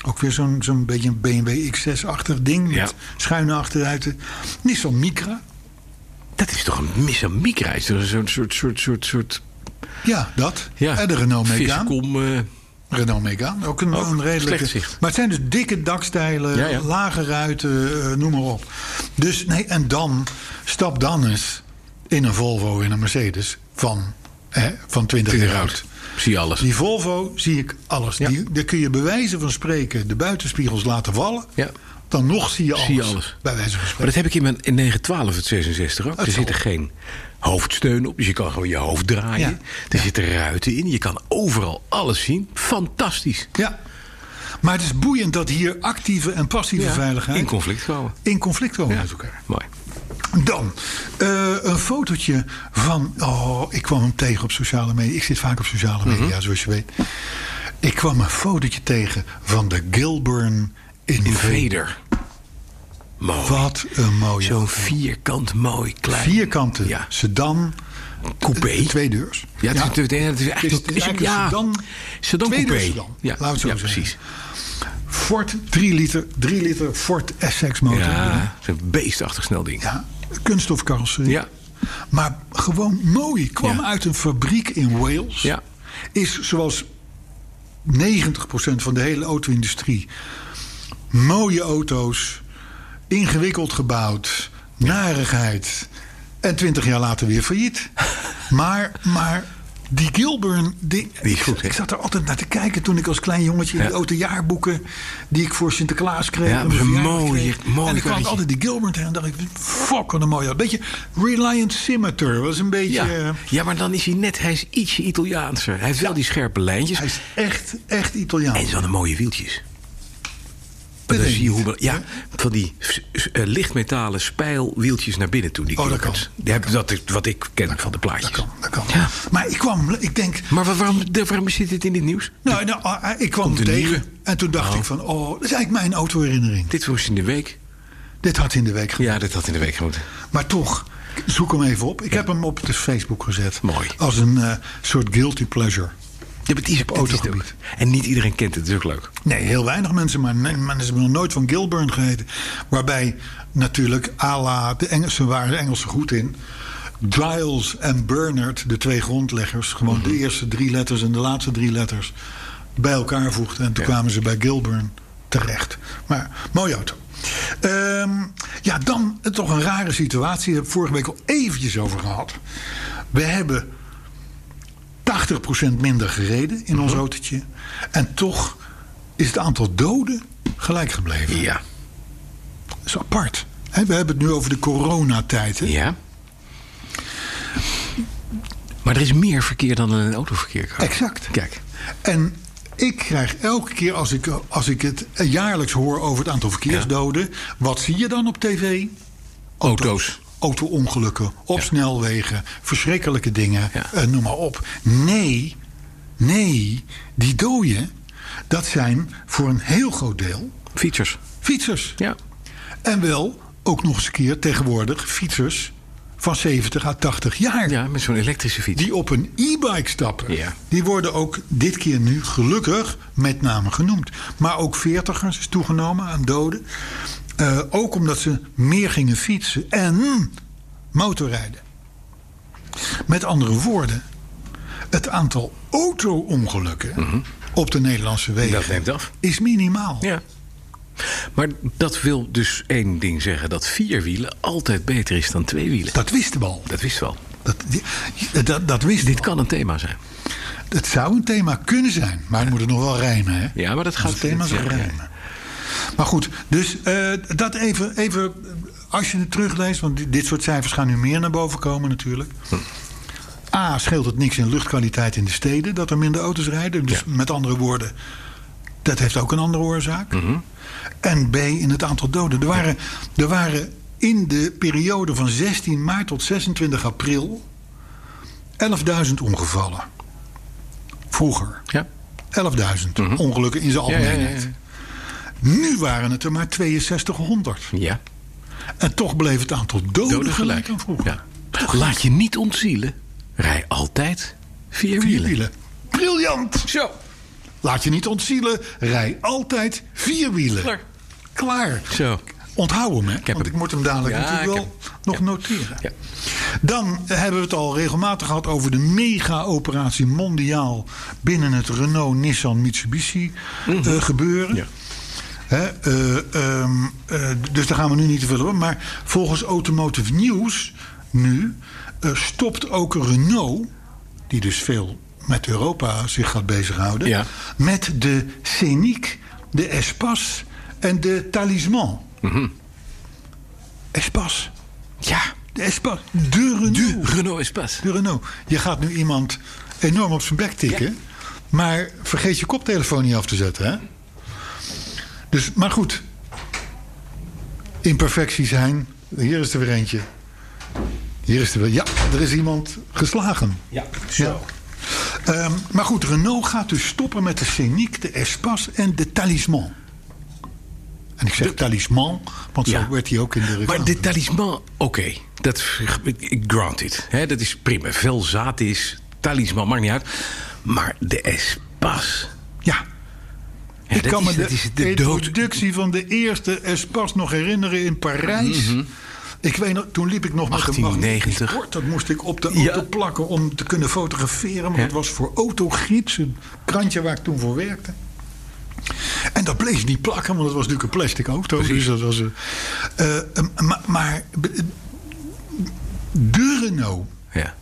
Ook weer zo'n zo'n beetje een BMW X6-achtig ding.
Ja.
Met schuine achteruiten. Nissan Micra.
Dat is toch een misamiekreis? Dat is Zo'n soort, soort, soort, soort...
Ja, dat.
Ja,
En de Renault Megane.
Viscom, eh,
Renault Megane, ook een,
Ook
een redelijke.
slecht zicht.
Maar het zijn dus dikke dakstijlen,
Ja, ja.
lage ruiten, eh, noem maar op. Dus nee, en dan, stap dan eens in een Volvo, in een Mercedes van, hè, van 20
in de
jaar
rood.
oud.
eh, Zie alles.
Die Volvo zie ik alles.
Ja.
Die, daar kun je bij wijze van spreken de buitenspiegels laten vallen.
Ja.
Dan nog zie je alles.
Zie je alles.
Bij wijze van
Maar
spreken.
dat heb ik in, mijn, in 912 het 66 ook.
Dat
er
zal.
zitten geen hoofdsteun op, dus je kan gewoon je hoofd draaien.
Ja.
Er zitten ruiten in, je kan overal alles zien. Fantastisch.
Ja. Maar het is boeiend dat hier actieve en passieve veiligheid
In conflict komen.
in conflict komen met elkaar.
Mooi.
Dan eh, een fotootje van. Oh, ik kwam hem tegen op sociale media. Ik zit vaak op sociale media,
Mhm.
zoals je weet. Ik kwam een fotootje tegen van de Gilburn Invader.
Invader. Mooi.
Wat een mooie.
Zo'n vierkant mooi klein.
vierkante
Ja.
sedan.
Coupé.
eh, Twee deurs.
Ja, het, Is, het is eigenlijk,
Het is- het is eigenlijk een sedan.
sedan
Tweede
coupé.
sedan.
Ja,
Laten we het zo
ja,
zeggen.
precies.
Ford 3 liter, 3 liter Ford SX motor.
Ja, het is een beestachtig snel ding.
Ja, kunststofcarrosserie.
Ja.
Maar gewoon mooi. Kwam
Ja.
uit een fabriek in Wales.
Ja.
Is zoals 90% van de hele auto-industrie. Mooie auto's, ingewikkeld gebouwd, narigheid. En 20 jaar later weer failliet. maar, maar die Gilburn. Die,
Die is goed, hè?
ik zat er altijd naar te kijken toen ik als klein jongetje
Ja.
in die autojaarboeken. die ik voor Sinterklaas kreeg.
Ja,
en mijn
dat is een
verjaardag
mooie-
kreeg.
mooi
En ik kwam
karretje.
altijd die Gilbert tegen en dacht ik, fuck, wat een mooie. Een beetje Reliant Scimitar was een beetje... eh,
Ja. ja, maar dan is hij net, hij is ietsje Italiaanser. Hij heeft wel die scherpe lijntjes.
Hij is echt, echt Italiaans.
En ze hadden mooie wieltjes. Maar
weet
dan
ik
zie je
niet.
hoe... Ja, van die s- s- eh, lichtmetalen spijlwieltjes naar binnen toen. Die
Oh, dat
knokkers.
kan.
Die hebben- Dat is wat ik ken van de plaatjes.
Dat kan, dat kan.
Ja.
Maar ik kwam, ik denk...
Maar wa- waarom, de- waarom zit dit in dit nieuws?
Nou, nou, ah, ik kwam
Komt
hem
een
tegen.
nieuwe.
En toen dacht
Oh.
ik van, oh, dat is eigenlijk mijn autoherinnering.
Dit was in de week.
Dit had in de week
Ja, dit had in de week moeten.
Maar toch, zoek hem even op. Ik heb hem op de Facebook gezet.
Mooi.
Als een eh, soort guilty pleasure.
Ja, maar het is op
het is
autogebied. En niet iedereen kent het, dat is ook leuk.
Nee, heel weinig mensen, maar nee, men is nog nooit van Gilburn geheten. Waarbij natuurlijk à la, de Engelsen waren de Engelsen goed in. Giles en Bernard, de twee grondleggers, gewoon de eerste drie letters en de laatste drie letters bij elkaar voegden. En toen
Ja.
kwamen ze bij Gilburn terecht. Maar mooie auto. Ehm, ja, dan eh, toch een rare situatie. Daar heb ik vorige week al eventjes over gehad. We hebben 80% minder gereden in
Mhm.
ons autootje. En toch is het aantal doden gelijk gebleven.
Ja.
Dat is apart. Hè, we hebben het nu over de coronatijd. hè?
Ja. Maar er is meer verkeer dan in een autoverkeer. Carl.
Exact.
Kijk.
En ik krijg elke keer als ik, als ik het eh, jaarlijks hoor over het aantal verkeersdoden. Wat zie je dan op tv?
Auto's.
Auto-ongelukken, op
Ja.
snelwegen, verschrikkelijke dingen,
Ja.
eh, noem maar op. Nee, nee, die doden, dat zijn voor een heel groot deel
Fietsers.
fietsers.
Ja.
En wel ook nog eens een keer tegenwoordig fietsers van 70 à 80 jaar.
Ja, met zo'n elektrische fiets.
Die op een e-bike stappen.
Ja.
Die worden ook dit keer nu gelukkig met name genoemd. Maar ook veertigers is toegenomen aan doden. Eh, ook omdat ze meer gingen fietsen en motorrijden. Met andere woorden, het aantal auto-ongelukken op de Nederlandse wegen
Mhm. Dat neemt af.
is minimaal.
Ja. Maar dat wil dus één ding zeggen: dat vier wielen altijd beter is dan twee wielen.
Dat wisten we al.
Dat wist wel.
Dat, die- dat, dat wist
Dit
dit.
kan een thema zijn.
Het zou een thema kunnen zijn, maar het moet het nog wel rijmen. Hè?
Ja, maar dat gaat-
Als thema's
ja, ja.
rijmen. Maar goed, dus eh, dat even, even als je het terugleest, want di- dit soort cijfers gaan nu meer naar boven komen natuurlijk.
Hm.
A, scheelt het niks in luchtkwaliteit in de steden dat er minder auto's rijden. Dus met andere woorden, Dat heeft ook een andere oorzaak.
Mhm.
En B, in het aantal doden. Er waren, er waren in de periode van 16 maart tot 26 april 11.000 ongevallen. Vroeger.
Ja.
11.000 ongelukken in zijn
Mhm. Ja, ja,
algemeenheid.
ja, ja.
Nu waren het er maar 6200.
ja.
En toch bleef het aantal doden,
Doden
gelijk
gelijk.
aan vroeger.
Ja. Laat je niet ontzielen. Rij altijd vier
Vier
wielen.
wielen. Briljant!
Zo.
Laat je niet ontzielen. Rij altijd vier wielen.
Klaar.
Klaar.
Zo.
Onthoud hem, hè?
heb
want ik
hem.
moet hem dadelijk
Ja,
natuurlijk
ik
wel
heb hem.
nog
Ja.
noteren.
Ja.
Dan hebben we het al regelmatig gehad over de mega-operatie mondiaal binnen het Renault-Nissan-Mitsubishi
Mhm.
eh, gebeuren.
Ja.
Hè, eh, ehm, eh, dus daar gaan we nu niet te veel over. Maar volgens Automotive News nu eh, stopt ook Renault, die dus veel met Europa zich gaat bezighouden,
Ja.
met de Scenic, de Espace en de Talisman. Espace.
Mhm. Ja.
De Espace. De Renault.
Renault is pas.
De Renault. Je gaat nu iemand enorm op zijn bek tikken. Maar vergeet je koptelefoon niet af te zetten, hè? Dus, maar goed. Imperfecties zijn. Hier is er weer eentje. Hier is er weer. Ja, er is iemand geslagen. Ja, zo. maar goed, Renault gaat dus stoppen met de Scenic, de Espace en de Talisman. En ik zeg talisman, want
Ja.
zo werd hij ook in de reclame.
Maar dit talisman, oké. Dat ik grant it. Hè, dat is prima. Vel zaad is, talisman, maakt niet uit. Maar de Espas.
Ja.
Ja,
Ik
dat
kan
is-
me de,
dat is
de
de dood.
introductie van de eerste Espas nog herinneren in Parijs.
Mhm.
Ik weet nog, toen liep ik nog met een
1890.
magnetisch bord. Dat moest ik op de
Ja.
auto plakken om te kunnen fotograferen. Want
Ja.
het was voor Autogids, een krantje waar ik toen voor werkte. En dat bleef niet plakken, want het was natuurlijk een plastic auto. Dus dat was, een- eh, eh, maar, maar eh, de Renault,
Ja.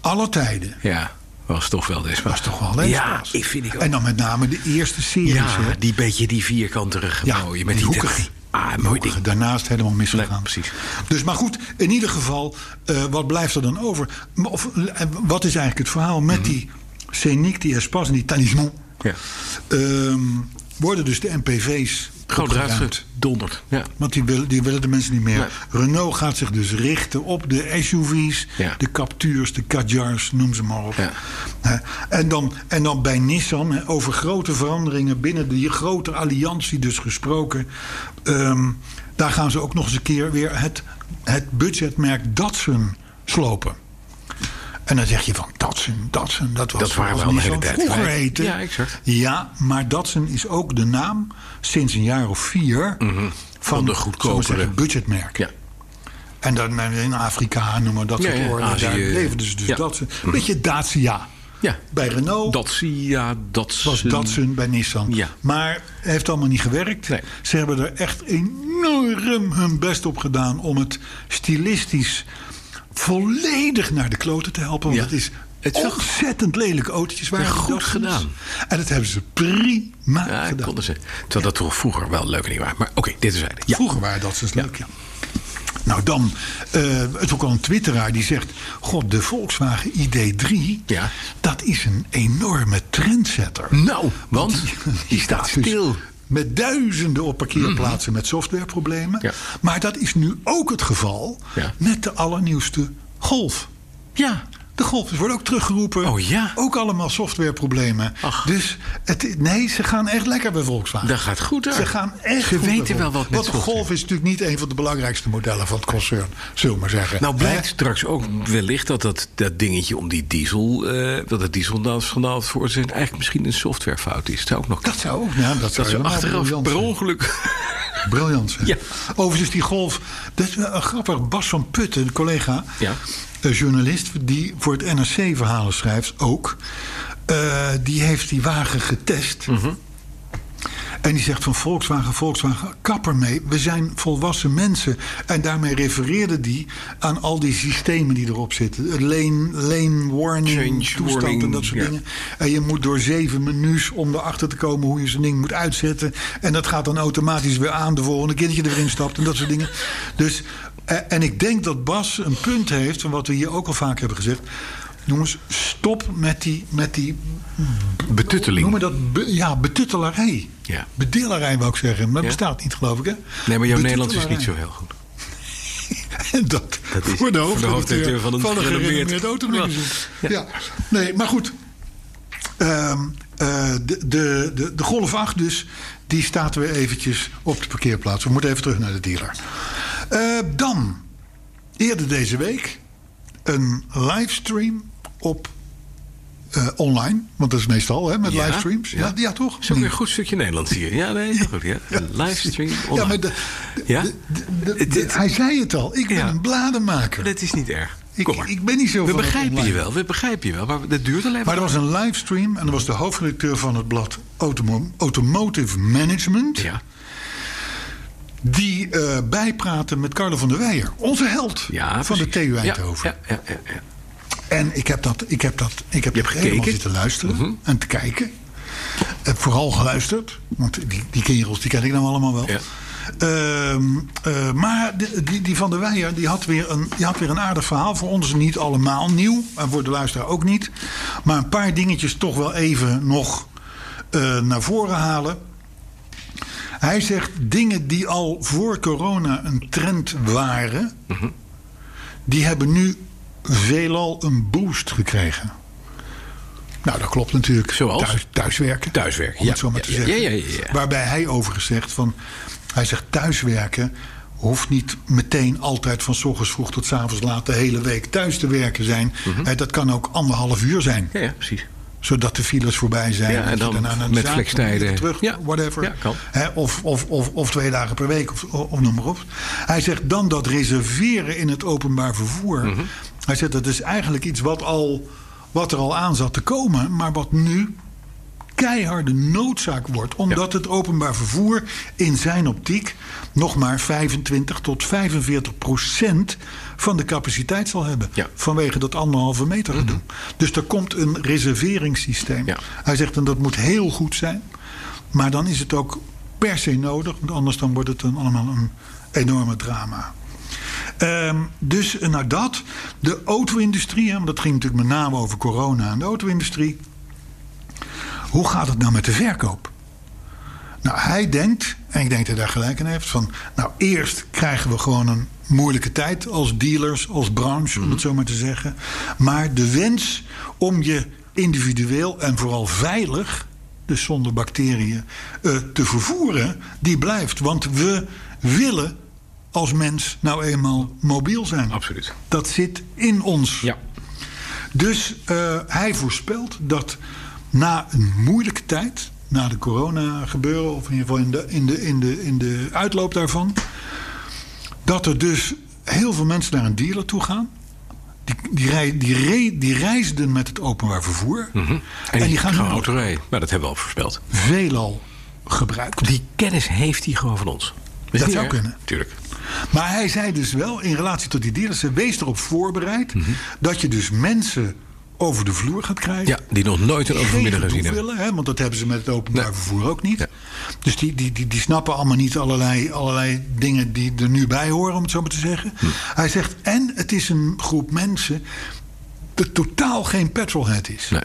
alle tijden,
Ja. Was toch wel de Espas.
was toch wel een
Ja,
Espas.
ik vind ik ook.
En dan met name de eerste series. hè.
ja, die beetje die vierkanterige
Ja,
mooie. Met
die
die
hoekige.
Ah, mooi ding.
Daarnaast helemaal misgegaan.
Nee, precies.
Dus maar goed, in ieder geval, eh, wat blijft er dan over? Maar Of, eh, wat is eigenlijk het verhaal met die Scenic, die Espas en die Talisman?
Mhm. Ja.
Ehm, worden dus de NPV's
Gewoon eruit
opgeruimd?
gedonderd. Ja.
Want die willen, die willen de mensen niet meer.
Nee.
Renault gaat zich dus richten op de SUV's,
Ja.
de Captures, de Kadjars, noem ze maar op.
Ja.
Hè, En, dan, en dan bij Nissan, hè, over grote veranderingen binnen die grote alliantie dus gesproken. Ehm, daar gaan ze ook nog eens een keer weer het, het budgetmerk Datsun slopen. En dan zeg je van Datsun, Datsun, dat was
Dat waren we
zoals
al de hele
Nissan
tijd
vroeger
kwijt.
heette.
Ja, exact.
Ja, maar Datsun is ook de naam sinds een jaar of vier
Mhm. Van de
zullen we
goedkopere.
zeggen, budgetmerk.
Ja.
En dan in Afrika noemen we dat
Ja,
soort
ja,
oorlogen.
Azië.
Daar leven dus, dus
Ja.
Datsun. Een beetje Dacia.
Ja.
Bij Renault
Datsia, Datsun.
was Datsun bij Nissan.
Ja.
Maar heeft allemaal niet gewerkt.
Nee.
Ze hebben er echt enorm hun best op gedaan... om het stilistisch volledig naar de kloten te helpen. Want
Ja.
het is...
Het is wel-
ontzettend lelijke autootjes waren
Ja,
die
goed
Datsuns.
gedaan.
En dat hebben ze prima
Ja, dus- dat
gedaan.
konden ze. Terwijl dat toch vroeger wel leuk niet waren. Maar oké, dit is eigenlijk.
Vroeger waren dat dus leuk, ja. Nou dan, eh, het is ook al een twitteraar die zegt... God, de Volkswagen ID3,
Ja.
dat is een enorme trendsetter.
Nou, want die staat
dus
Ah, stil. Mhm.
Met duizenden op parkeerplaatsen met softwareproblemen.
Ja.
Maar dat is nu ook het geval
Ja.
met de allernieuwste Golf.
Ja.
De golfers worden ook teruggeroepen.
Oh ja.
Ook allemaal softwareproblemen.
Ach.
Dus het, nee, ze gaan echt lekker bij Volkswagen.
Dat gaat goed, daar.
Ze gaan echt
Ze
goed
weten
bij
wel
Volkswagen.
wat met
Want de
software.
Golf is natuurlijk niet een van de belangrijkste modellen van het concern. Zullen we maar zeggen.
Nou blijkt
Hè?
straks ook wellicht dat dat, dat dingetje om die diesel... eh, dat het dieselschandaal veroorzaakt eigenlijk misschien een softwarefout is. Dat zou ook nog
Dat zou ook. Ja, dat
Dat
zou
ze
helemaal
achteraf
briljant
per
zijn.
ongeluk...
Briljant zijn.
Ja.
Overigens, die golf. Dat is wel een grappig. Bas van Putten, een collega.
Ja.
een journalist die voor het NRC verhalen schrijft ook. eh, die heeft die wagen getest.
Mhm.
En die zegt van Volkswagen, Volkswagen, kapper mee. We zijn volwassen mensen. En daarmee refereerde die aan al die systemen die erop zitten. Het lane, lane warning,
Change
toestand en
warning,
dat soort
ja.
dingen. En je moet door zeven menus om erachter te komen hoe je zo'n ding moet uitzetten. En dat gaat dan automatisch weer aan de volgende keer dat je erin stapt en dat soort dingen. Dus, eh, en ik denk dat Bas een punt heeft, van wat we hier ook al vaak hebben gezegd. Jongens, stop met die, met die
Betutteling.
noemen dat be- ja, betuttelarij.
Ja.
Bedillerij wou ik zeggen, maar dat
Ja.
bestaat niet, geloof ik. Hè?
Nee, maar jouw Nederlands is niet zo
Betuttelarij.
heel goed.
En dat,
Dat is
voor de
voor de
hoofdredacteur
hoofdredacteur
van,
van een
een
gerenommeerd-
gerenommeerd automagazine. Ja. nee, maar goed. Ehm, eh, de, de, de, de Golf 8 dus, die staat weer eventjes op de parkeerplaats. We moeten even terug naar de dealer. Eh, dan, eerder deze week, een livestream op eh, online. Want dat is meestal hè, met
Ja,
livestreams. Ja,
ja.
ja, toch? Hm.
Is ook weer een goed stukje Nederlands hier. Ja, nee, heel goed. Ja. Een livestream online.
Ja, maar de-
Ja?
de- de- de-
Dit-
hij zei het al. Ik ben
Ja.
een bladenmaker.
Dat is niet erg.
Ik-
Kom maar.
ik ben niet zo
We
van het
begrijpen je
online.
wel, we begrijpen je wel. Maar dat duurt alleen
Maar er was een livestream en er was de hoofdredacteur van het blad Automo- Automotive Management.
Ja,
Die eh bijpraatte met Carlo van der Weijer, onze held
ja,
van de
precies.
TU
Ja,
Eindhoven.
Ja, ja, ja, ja.
En ik heb dat, ik heb dat, ik heb
Je
dat
hebt gekeken?
helemaal
Mhm.
zitten luisteren en te kijken. Heb vooral geluisterd, want die, die kerels die ken ik nou allemaal wel.
Ja.
Ehm, eh, maar de- die, die van der Weijer die had, weer een, die had weer een aardig verhaal. Voor ons niet allemaal nieuw, en voor de luisteraar ook niet. Maar een paar dingetjes toch wel even nog eh, naar voren halen. Hij zegt dingen die al voor corona een trend waren, die hebben nu veelal een boost gekregen. Nou, dat klopt natuurlijk.
Zoals?
Thuis, thuiswerken.
Thuiswerken,
om het
ja,
zo maar
ja,
te
ja,
zeggen.
ja, ja, ja.
Waarbij hij overigens zegt van, hij zegt thuiswerken hoeft niet meteen altijd van 's ochtends vroeg tot 's avonds laat de hele week thuis te werken zijn.
Mhm.
Eh, Dat kan ook anderhalf uur zijn
ja, ja, precies.
zodat de files voorbij zijn.
Ja,
dat
en
je
dan
daarna naar de
met
zaak
flextijden.
moet, weer terug,
Ja.
whatever.
Ja, kan.
Hè, of, of, of, of twee dagen per week, of, of noem maar op. Hij zegt dan dat reserveren in het openbaar vervoer.
Mhm.
Hij zegt dat is eigenlijk iets wat, al, wat er al aan zat te komen, maar wat nu keiharde noodzaak wordt. Omdat het openbaar vervoer in zijn optiek nog maar 25 tot 45 procent van de capaciteit zal hebben.
Ja.
Vanwege dat anderhalve meter gedoe. Dus er komt een reserveringssysteem.
Ja.
Hij zegt en dat moet heel goed zijn. Maar dan is het ook per se nodig. Want anders dan wordt het dan allemaal een enorme drama. Ehm, dus eh, nou dat. De auto-industrie, hè, want dat ging natuurlijk met name over corona en de auto-industrie. Hoe gaat het nou met de verkoop? Nou, hij denkt, en ik denk dat hij daar gelijk in heeft, van nou eerst krijgen we gewoon een moeilijke tijd als dealers, als branche,
Mhm.
om het zo maar te zeggen. Maar de wens om je individueel en vooral veilig, dus zonder bacteriën, eh, te vervoeren, die blijft. Want we willen als mens nou eenmaal mobiel zijn.
Absoluut.
Dat zit in ons.
Ja.
Dus eh, hij voorspelt dat na een moeilijke tijd, na de corona gebeuren, of in ieder geval in de, in, de, in, de, in de uitloop daarvan, dat er dus heel veel mensen naar een dealer toe gaan. Die, die, rij- die, re- die reisden met het openbaar vervoer.
Mhm. En, die gaan
nu
gewoon auto rijden. Nou, dat hebben we al voorspeld.
veelal gebruikt.
Die kennis heeft hij gewoon van ons. is
Dat
niet
zou
erg.
kunnen.
Tuurlijk.
Maar hij zei dus wel, in relatie tot die dealers, wees erop voorbereid
Mhm.
dat je dus mensen over de vloer gaat krijgen.
Ja, die nog nooit een
geen
overmiddag
gedoe
gezien hebben.
willen, hè, want dat hebben ze met het openbaar
Nee.
vervoer ook niet.
Ja.
Dus die, die, die, die snappen allemaal niet allerlei, allerlei dingen die er nu bij horen, om het zo maar te zeggen.
Hm.
Hij zegt, en het is een groep mensen dat totaal geen petrolhead is.
Nee.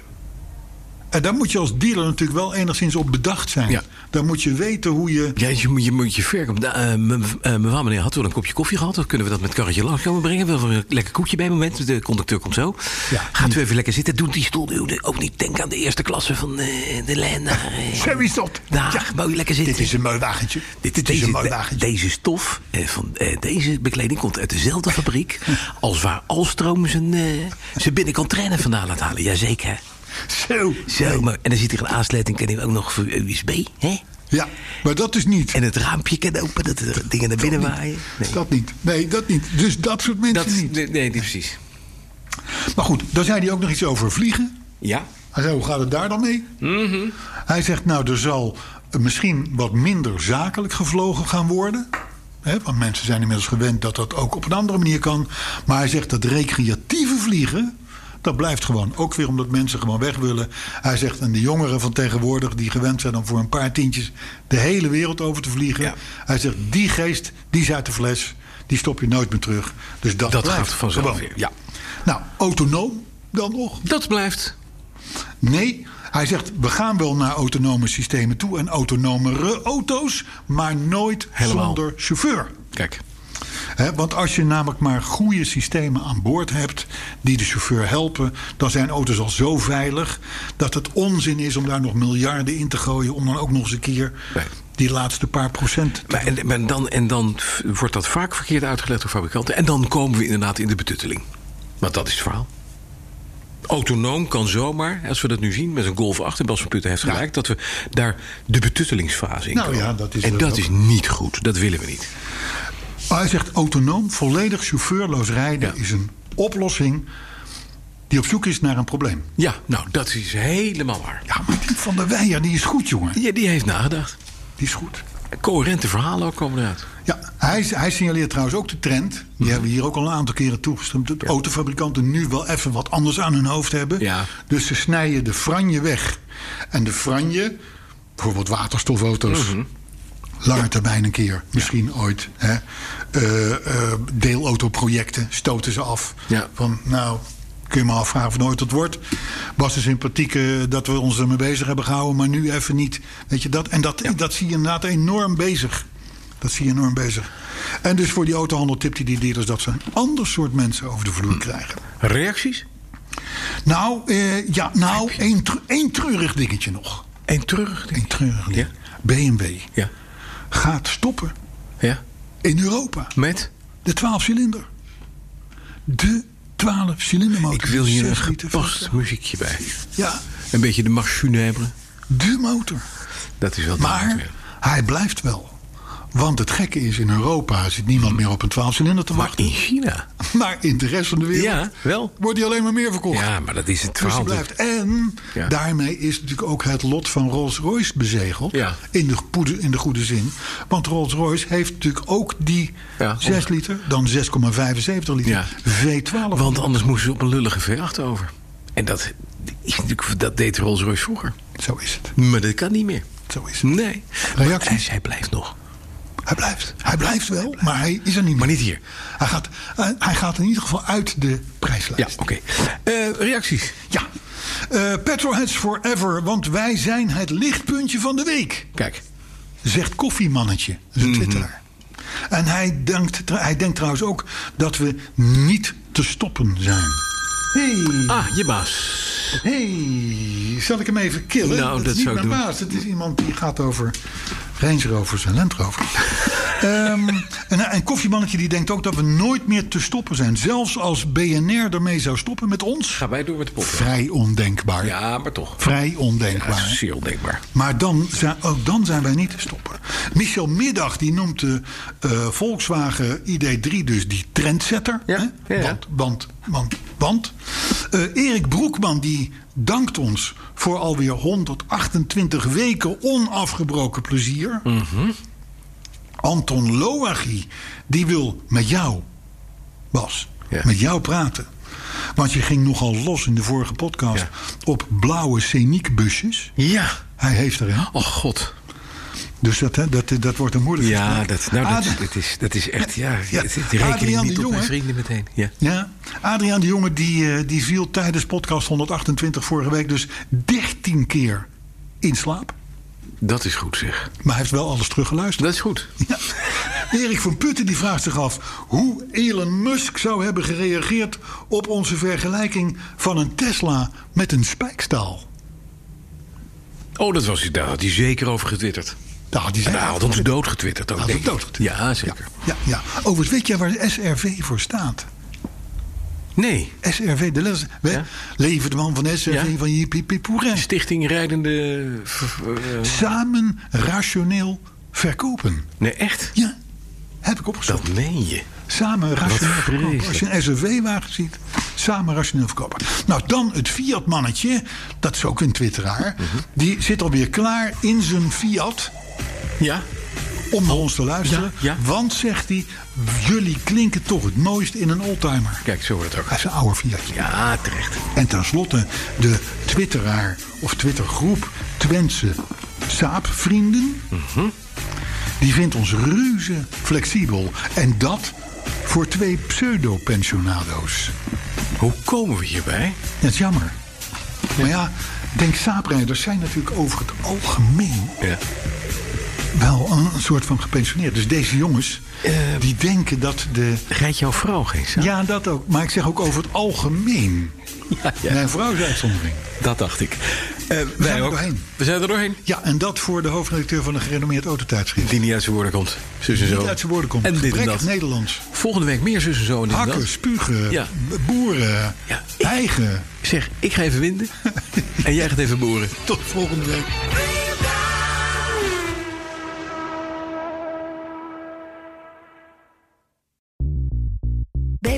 En daar moet je als dealer natuurlijk wel enigszins op bedacht zijn.
Ja.
Dan moet je weten hoe je...
Ja, je moet je, moet je verkopen. Nou, eh, me- eh, mevrouw, meneer, had wel een kopje koffie gehad? Dan kunnen we dat met karretje langs komen brengen? We hebben een lekker koekje bij het moment. De conducteur komt zo.
Ja.
Gaat u even lekker zitten. Doet die stoel nu ook niet. Denk aan de eerste klasse van eh, de lijn. naar, eh,
Zo is dat.
Daar,
Ja.
wou je lekker zitten.
Dit is een mooi wagentje.
Dit is
een
deze,
mooi
de-
wagentje.
deze stof eh, van eh, deze bekleding komt uit dezelfde fabriek als waar Alstroom zijn, eh, zijn binnenkant trainen vandaan laat halen. Jazeker.
Zo.
Zo, maar, en dan zit er een aansluiting ken ik ook nog voor USB. Hè?
Ja, maar dat is niet.
En het raampje kan open, dat er dingen naar binnen waaien. Nee,
Dat niet. Nee, dat niet. Dus dat soort mensen
dat,
niet.
nee, nee, niet precies.
Maar goed, daar zei hij ook nog iets over vliegen.
Ja?
Hij zei, hoe gaat het daar dan mee? Hij zegt, nou, er zal misschien wat minder zakelijk gevlogen gaan worden. Hè, want mensen zijn inmiddels gewend dat dat ook op een andere manier kan. Maar hij zegt dat recreatieve vliegen, dat blijft gewoon. Ook weer omdat mensen gewoon weg willen. Hij zegt, en de jongeren van tegenwoordig... die gewend zijn om voor een paar tientjes de hele wereld over te vliegen.
Ja.
Hij zegt, die geest, die is uit de fles. Die stop je nooit meer terug. Dus dat,
Dat
blijft
gaat vanzelf
gewoon.
weer, ja.
Nou, autonoom dan nog.
Dat blijft.
Nee, hij zegt we gaan wel naar autonome systemen toe en autonomere auto's, maar nooit
Helemaal.
zonder chauffeur.
Kijk,
Hè, want als je namelijk maar goede systemen aan boord hebt die de chauffeur helpen, dan zijn auto's al zo veilig dat het onzin is om daar nog miljarden in te gooien om dan ook nog eens een keer
Nee.
die laatste paar procent.
maar, en, maar dan, en dan f- wordt dat vaak verkeerd uitgelegd door fabrikanten. En dan komen we inderdaad in de betutteling. Want dat is het verhaal. Autonoom kan zomaar, als we dat nu zien met een Golf 8, en Bas van Putten heeft gelijk, dat we daar de betuttelingsfase in
Nou
komen.
ja, dat is
en
dus
dat
ook-
is niet goed. Dat willen we niet.
Maar hij zegt autonoom, volledig chauffeurloos rijden
Ja.
is een oplossing die op zoek is naar een probleem.
Ja, nou, dat is helemaal waar.
Ja, maar die van der Weijer, die is goed, jongen.
Ja, die heeft nagedacht.
Die is goed.
Coherente verhalen ook komen eruit.
Ja, hij, hij signaleert trouwens ook de trend. Die
Mhm.
hebben we hier ook al een aantal keren toegestemd. Dat autofabrikanten nu wel even wat anders aan hun hoofd hebben.
Ja.
Dus ze snijden de franje weg. En de franje, bijvoorbeeld waterstofauto's.
Mhm.
Lange termijn een keer, misschien ooit. Hè. Eh, eh, deelautoprojecten stoten ze af.
Ja.
Van, nou, kun je me afvragen of het nooit dat wordt. Was de sympathiek eh, dat we ons ermee bezig hebben gehouden, maar nu even niet. Weet je dat? En dat, dat zie je inderdaad enorm bezig. Dat zie je enorm bezig. En dus voor die autohandel tipt hij die dealers dat ze een ander soort mensen over de vloer krijgen.
Reacties?
Nou, eh, ja, nou, één tr- één treurig dingetje nog.
En terug.
Eén treurig ding.
Ja.
BMW
Ja.
gaat stoppen
Ja.
in Europa.
Met?
De 12-cilinder. De 12-cilindermotor.
Ik wil hier een
Zes liter
gepast
V12.
muziekje bij.
Ja,
Een beetje de marche funèbre.
de motor.
Dat is wel duidelijk,
Maar
ja.
hij blijft wel. Want het gekke is, in Europa zit niemand meer op een 12-cilinder te
Maar
wachten.
in China?
Maar in de rest van de wereld
Ja, wel.
wordt hij alleen maar meer verkocht.
Ja, maar dat is het
Dus die
verhaal.
blijft. En
Ja.
daarmee is natuurlijk ook het lot van Rolls-Royce bezegeld.
Ja.
In, de poede- in de goede zin. Want Rolls-Royce heeft natuurlijk ook die
Ja,
6 liter, dan 6,75 liter
Ja.
V12.
Want anders moesten ze op een lullige V8 over. En dat, is natuurlijk- dat deed Rolls-Royce vroeger.
Zo is het.
Maar dat kan niet meer.
Zo is het.
Nee.
Reacties?
Maar hij- hij blijft nog.
Hij blijft. Hij blijft wel, maar hij is er niet meer.
Maar niet hier.
Hij gaat, eh, hij gaat in ieder geval uit de
Ja,
prijslijst.
oké. Eh, reacties?
Ja. Eh, Petrolheads forever, want wij zijn het lichtpuntje van de week.
Kijk.
zegt koffiemannetje, dat is
Mhm.
een twitteraar. En hij denkt, hij denkt trouwens ook dat we niet te stoppen zijn. Hey,
Ah, je baas.
hey, zal ik hem even killen?
Nou,
dat
dat
is niet
zou ik
mijn
doen.
baas, het is iemand die gaat over Range Rovers en Land Rovers. Ehm, en een koffiemannetje die denkt ook dat we nooit meer te stoppen zijn. Zelfs als BNR ermee zou stoppen met ons.
Gaan wij door met de podcast?
Vrij ondenkbaar.
Ja, maar toch.
Vrij
Ja,
ondenkbaar.
zeer ondenkbaar.
Maar dan zijn, ook dan zijn wij niet te stoppen. Michel Middag die noemt de eh, Volkswagen ID3 dus die trendsetter.
Ja,
hè?
ja, ja.
Want, want, want, want. Eh, Erik Broekman die dankt ons voor alweer 128 weken onafgebroken plezier.
Mhm.
Anton Loachi die wil met jou, Bas,
Ja.
met jou praten. Want je ging nogal los in de vorige podcast
Ja.
op blauwe sceniekbusjes.
Ja.
Hij heeft er, hè?
Oh, god.
Dus dat, hè, dat, dat wordt een moeilijk
Ja,
gesprek.
dat, nou, dat,
Adri-
dat is, dat is echt, ja,
Ja.
het- het
Adriaan
rekening
de
niet op
Jonge.
mijn vrienden meteen. Ja.
ja, Adriaan de Jonge die, eh, die viel tijdens podcast 128 vorige week dus 13 keer in slaap.
Dat is goed zeg.
Maar hij heeft wel alles teruggeluisterd.
Dat is goed.
Ja. Erik van Putten die vraagt zich af hoe Elon Musk zou hebben gereageerd op onze vergelijking van een Tesla met een spijkstaal.
Oh, dat was, daar had hij zeker over getwitterd.
Nou, die
En
zijn
hij had ons dood getwitterd. ook,
Had
denk
ons
ik.
dood getwitterd.
Ja, zeker.
Ja, ja. Overigens, weet jij waar de SRV voor staat?
Nee,
SRV, de letters. we-
Ja.
Leven de man van SRV
Ja.
van Jippie Poerin.
Stichting Rijdende... v- v- eh,
Samen rationeel verkopen.
Nee, echt?
Ja, heb ik opgezocht.
Dat meen je.
Samen rationeel verkopen.
vreselijk.
Als je een SUV-wagen ziet, samen rationeel verkopen. Nou, dan het Fiat-mannetje, dat is ook een twitteraar...
Mhm.
die zit alweer klaar in zijn Fiat
Ja?
om naar ons te luisteren.
Oh. ja.
Want, zegt hij, jullie klinken toch het mooist in een oldtimer.
Kijk, zo wordt het ook.
Hij is een oude Fiatje.
Ja, terecht.
En tenslotte de twitteraar of twittergroep Twentse Saapvrienden.
Mhm.
Die vindt ons reuze flexibel. En dat voor twee pseudo-pensionado's.
Hoe komen we hierbij?
Dat is jammer. Maar ja, denk saaprijders zijn natuurlijk over het algemeen
Ja.
wel een, een soort van gepensioneerd. Dus deze jongens,
Eh,
die denken dat de...
Rijdt jouw vrouw geen saap?
Ja, dat ook. Maar ik zeg ook over het algemeen.
Ja, ja,
Mijn vrouw is uitzondering.
dat dacht ik. Eh,
zijn
wij
er
ook.
doorheen.
We zijn er doorheen.
Ja, en dat voor de hoofdredacteur van een gerenommeerd autotijdschrift.
Die niet uit zijn woorden komt. Zus en zo.
Niet uit zijn woorden komt.
En dit en
Gebrek
dat.
Nederlands.
Volgende week meer zus en zo. en dit en dat.
Hakken, spugen,
Ja.
b- boeren,
Ja, ik-
eigen.
Zeg, ik ga even winden. en jij gaat even boeren.
Tot volgende week.
Bij